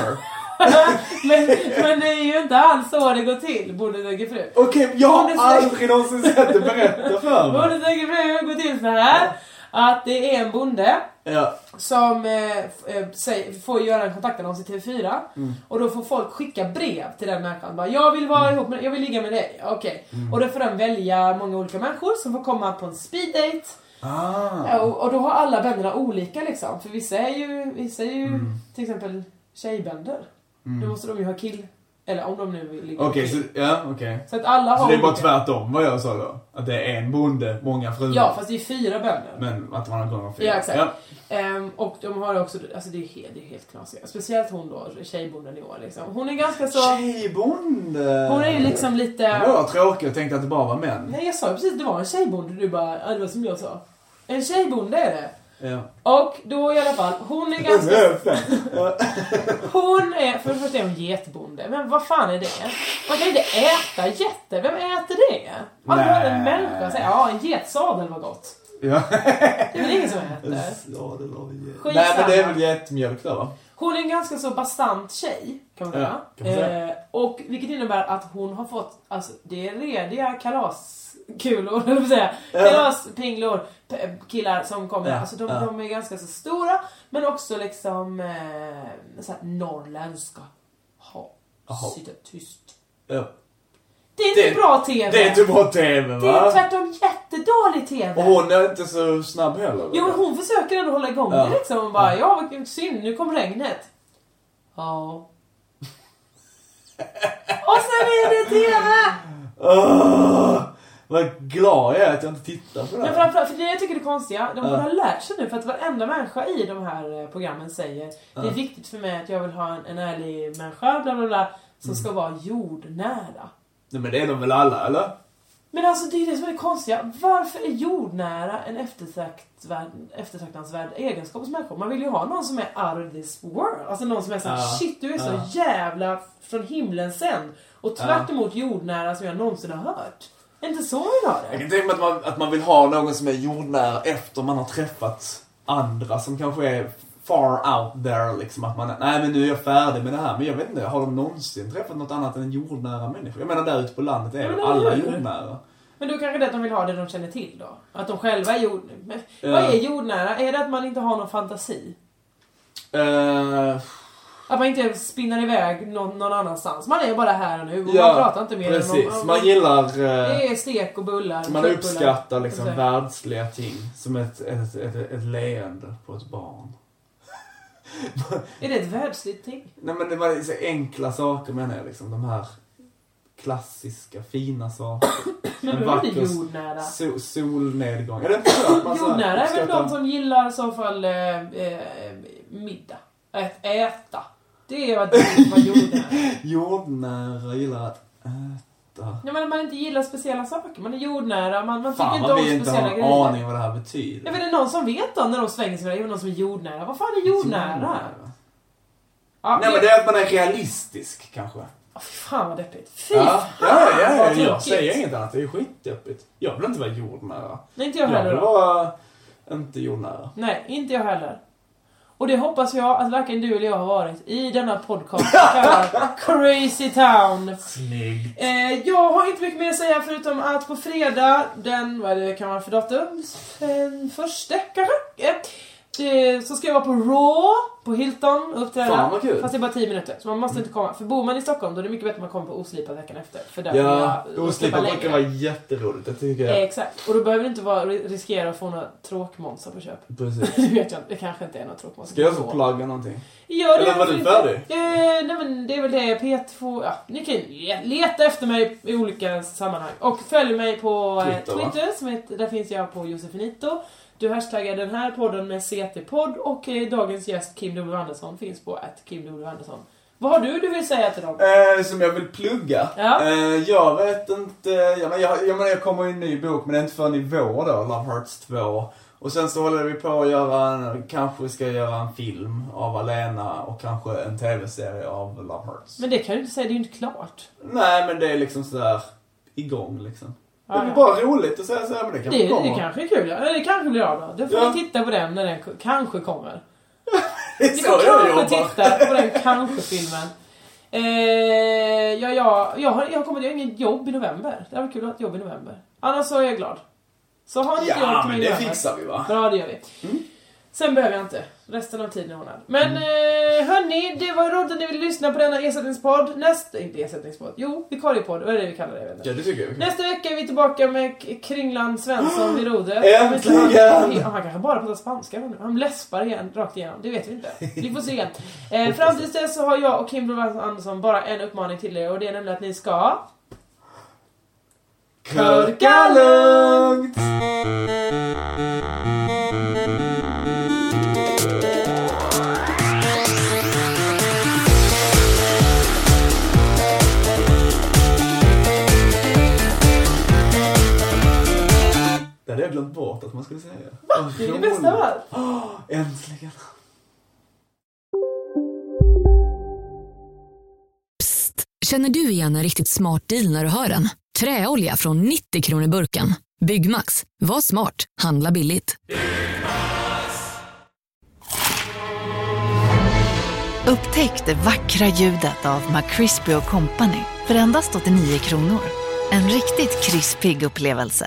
G: Men, men det är ju inte alls så det går till, Bonde söker fru.
H: Okej, jag
G: Hon är
H: har
G: så-
H: aldrig någonsin sett det berätta för mig.
G: Bonde söker fru går till så här. Att det är en bonde
H: Ja.
G: som eh, f- eh, säger, får göra en kontaktannons i TV4.
H: Mm.
G: Och då får folk skicka brev till den människan. Bara, jag vill vara ihop med jag vill ligga med dig. Okej.
H: Mm.
G: Och då får de välja många olika människor som får komma på en speeddate. Ja,
H: Ah.
G: och, och då har alla bänderna olika liksom. För vissa är ju, vissa är ju till exempel tjejbänder.
H: Mm.
G: Då måste de ju ha kill. Eller om de nu vill ligga med
H: Okej,
G: kill.
H: så, ja, okej.
G: Så att alla
H: Så
G: har
H: det är bara
G: olika.
H: tvärtom vad jag sa då? Att det är en bonde, många fruar.
G: Ja, fast det är fyra bönder.
H: Men att man har gånger fyra.
G: Ja, exakt. Ehm, och de har också, alltså det är helt, det är helt knasiga. Speciellt hon då, tjejbonden i år liksom. Hon är ganska så,
H: Tjejbonde!
G: hon är ju liksom lite...
H: Det var tråkigt, jag tänkte att det bara var män.
G: Nej jag sa ju precis, det var en tjejbonde. Du bara, ja, det var som jag sa. En tjejbonde är det.
H: Ja.
G: Och då i alla fall, hon är ganska...
H: Ja.
G: Hon är, för det första är hon getbonde, men vad fan är det? Man kan inte äta getter, vem äter det? Har du
H: Nej.
G: hört en människa säga ja en getsadel var gott?
H: Ja.
G: Det är väl ingen som äter?
H: Ja, det la vi igen.
G: Skitsamma.
H: Nej, men det är väl getmjölk där va?
G: Hon är en ganska så bastant tjej, kan man
H: Ja,
G: säga.
H: kan man säga.
G: Eh, och vilket innebär att hon har fått, alltså det är rediga kalaskulor, höll jag på att säga.
H: Ja.
G: Kalaspinglor, p- killar som kommer.
H: Ja,
G: Alltså de,
H: ja.
G: de är ganska så stora, men också liksom eh, så här, norrländska. Ha,
H: Jaha.
G: sitta tyst.
H: Ja.
G: Det är inte
H: Det-
G: bra TV!
H: Det är inte bra TV
G: Det är
H: va?
G: tvärtom jättedålig TV!
H: Och hon är inte så snabb heller.
G: Jo men hon försöker ändå hålla igång
H: Ja.
G: det liksom. Hon bara, ja vilken synd, nu kom regnet. Ja. Och sen är det TV!
H: Åh, vad glad jag är att jag inte tittar på det
G: Men
H: här.
G: framförallt, för det jag tycker är konstiga, de borde ha lärt sig nu för att varenda människa i de här eh, programmen säger Det är viktigt för mig att jag vill ha en, en ärlig människa, bla bla bla, som ska vara jordnära.
H: Nej men det är de väl alla eller?
G: Men alltså det är det som är det konstiga. Varför är jordnära en eftertraktvärd, eftertraktansvärd egenskap hos människor? Man vill ju ha någon som är out of this world. Alltså någon som är såhär,
H: Ja,
G: shit du är så
H: ja.
G: jävla från himlen sen. Och tvärt emot jordnära som jag någonsin har hört. Är inte så man vill ha
H: Jag
G: det?
H: kan tänka mig att man, att man vill ha någon som är jordnära efter man har träffat andra som kanske är far out there liksom. Att man, nej men nu är jag färdig med det här. Men jag vet inte, har de någonsin träffat något annat än jordnära människor? Jag menar där ute på landet
G: Ja,
H: är
G: men
H: väl
G: det
H: alla
G: är det.
H: jordnära?
G: Men då kanske det är att de vill ha det de känner till då. Att de själva är jord... Men,
H: Ja.
G: Vad är jordnära? Är det att man inte har någon fantasi?
H: Eh,
G: Att man inte spinnar iväg någon, någon annanstans? Man är bara här och nu och
H: ja,
G: man pratar inte mer
H: precis.
G: än om- om-
H: Man gillar... eh,
G: Det är stek och bullar.
H: Man
G: köttbullar.
H: uppskattar liksom
G: Exakt.
H: världsliga ting. Som ett, ett, ett, ett leende på ett barn.
G: Är det ett världsligt ting?
H: Nej men det var så enkla saker menar jag liksom. De här klassiska, fina saker.
G: Men då
H: En
G: är det
H: vacker
G: jordnära.
H: So, solnedgång. Är det inte så? att man så här
G: Jordnära är väl
H: uppskattar-
G: de som gillar i så fall eh, eh, middag. Att äta. Det är vad det är vad jordnära är.
H: Jordnära gillar att äta.
G: Jag menar, man inte gillar speciella saker. Man är jordnära, man, man tycker
H: Fan
G: inte
H: vad
G: om
H: vi inte
G: speciella
H: har
G: grejer.
H: en aning vad det här betyder.
G: Jag vet, är det någon som vet då när de svänger sig? med det? Någon som är jordnära? Vad fan är jordnära? Ja,
H: Nej men det är att man är realistisk kanske.
G: Åh, fy fan vad deppigt. Fy
H: Ja, ja, ja, ja,
G: vad
H: jag
G: tråkigt.
H: säger inget annat. Det är ju skitdeppigt. Jag vill inte vara jordnära.
G: Nej, inte jag
H: Jag
G: heller
H: vill
G: då.
H: vara inte jordnära.
G: Nej, inte jag heller. Och det hoppas jag att varken du eller jag har varit i denna podcast som kallar Crazy Town.
H: Snyggt.
G: Eh, jag har inte mycket mer att säga förutom att på fredag den, vad är det kan vara för datum? Den första kanske? Eh, eh, så ska jag vara på Raw på Hilton och uppträda.
H: Fan, vad kul.
G: Fast det är bara 10 minuter, så man måste inte komma. För bor man i Stockholm då är det mycket bättre att man kommer på Oslipad veckan efter. För där får
H: Ja,
G: jag
H: oslipat
G: uppträda
H: brukar
G: längre.
H: vara jätteroligt. Det tycker
G: Eh,
H: jag.
G: Exakt, och då behöver du inte vara, riskera att få några tråkmånsar på köpet.
H: Precis.
G: Det vet jag inte, det kanske inte är något tråkigt.
H: Ska jag få plugga någonting?
G: Ja, det
H: Eller var
G: är väl
H: du
G: inte-
H: färdig?
G: Eh, nej men det är väl det P2... Ja, ni kan ju le- leta efter mig i olika sammanhang. Och följ mig på eh,
H: Twitter, va?
G: Twitter som heter, där finns jag på Josefinito. Du hashtaggar den här podden med CT-podd och eh, dagens gäst Kim W Andersson finns på att Kim W Andersson. Vad har du du vill säga till dem?
H: Eh, som jag vill plugga?
G: Ja.
H: Eh, jag vet inte. Jag menar jag, jag menar, jag kommer i en ny bok men det är inte förrän i vår då, Love Hearts 2. Och sen så håller vi på att göra en, kanske ska göra en film av Alena och kanske en tv-serie av Love Hearts.
G: Men det kan du inte säga, det är ju inte klart.
H: Nej men det är liksom sådär igång liksom.
G: Ja,
H: det blir
G: ja.
H: bara roligt att säga såhär men det
G: Det,
H: kanske
G: det,
H: kommer.
G: kanske är kul, ja. Eller det kanske blir av då. Då får
H: Ja.
G: vi titta på den när den k- kanske kommer.
H: Det är
G: Vi
H: så
G: får
H: jag
G: kanske
H: jobbar.
G: titta på den kanske-filmen. Eh, ja, ja, jag, har, jag, har kommit, jag har inget jobb i november. Det hade varit kul att ha ett jobb i november. Annars så är jag glad. Så har inte
H: Ja,
G: jag
H: men
G: till
H: det
G: min över-
H: fixar vi, va? Mm.
G: Bra, det gör vi. Sen behöver jag inte. Resten av tiden är ordnad. Men eh, hörni, det var roligt att ni ville lyssna på denna ersättningspodd. Nästa, inte ersättningspodd, jo vikariepodd, vad är det vi kallar det? Jag vet inte.
H: Ja, det tycker jag.
G: Nästa vecka är vi tillbaka med K- Kringland Svensson vid rodret.
H: Äntligen!
G: Han, han, han kanske bara pratar spanska nu. Han läspar igen, rakt igenom. Det vet vi inte. Vi får se. Eh, fram tills dess så har jag och Kim Blom Andersson bara en uppmaning till er och det är nämligen att ni ska...
H: Körka lugnt! Det hade jag glömt bort att man skulle säga. Va?
G: Det är det bästa av allt.
H: Äntligen.
K: Känner du igen en riktigt smart deal när du hör den? Träolja från 90 kronor burken. Byggmax. Var smart. Handla billigt.
I: Upptäck det vackra ljudet av McCrispy Company för endast 89 kronor. En riktigt krispig upplevelse.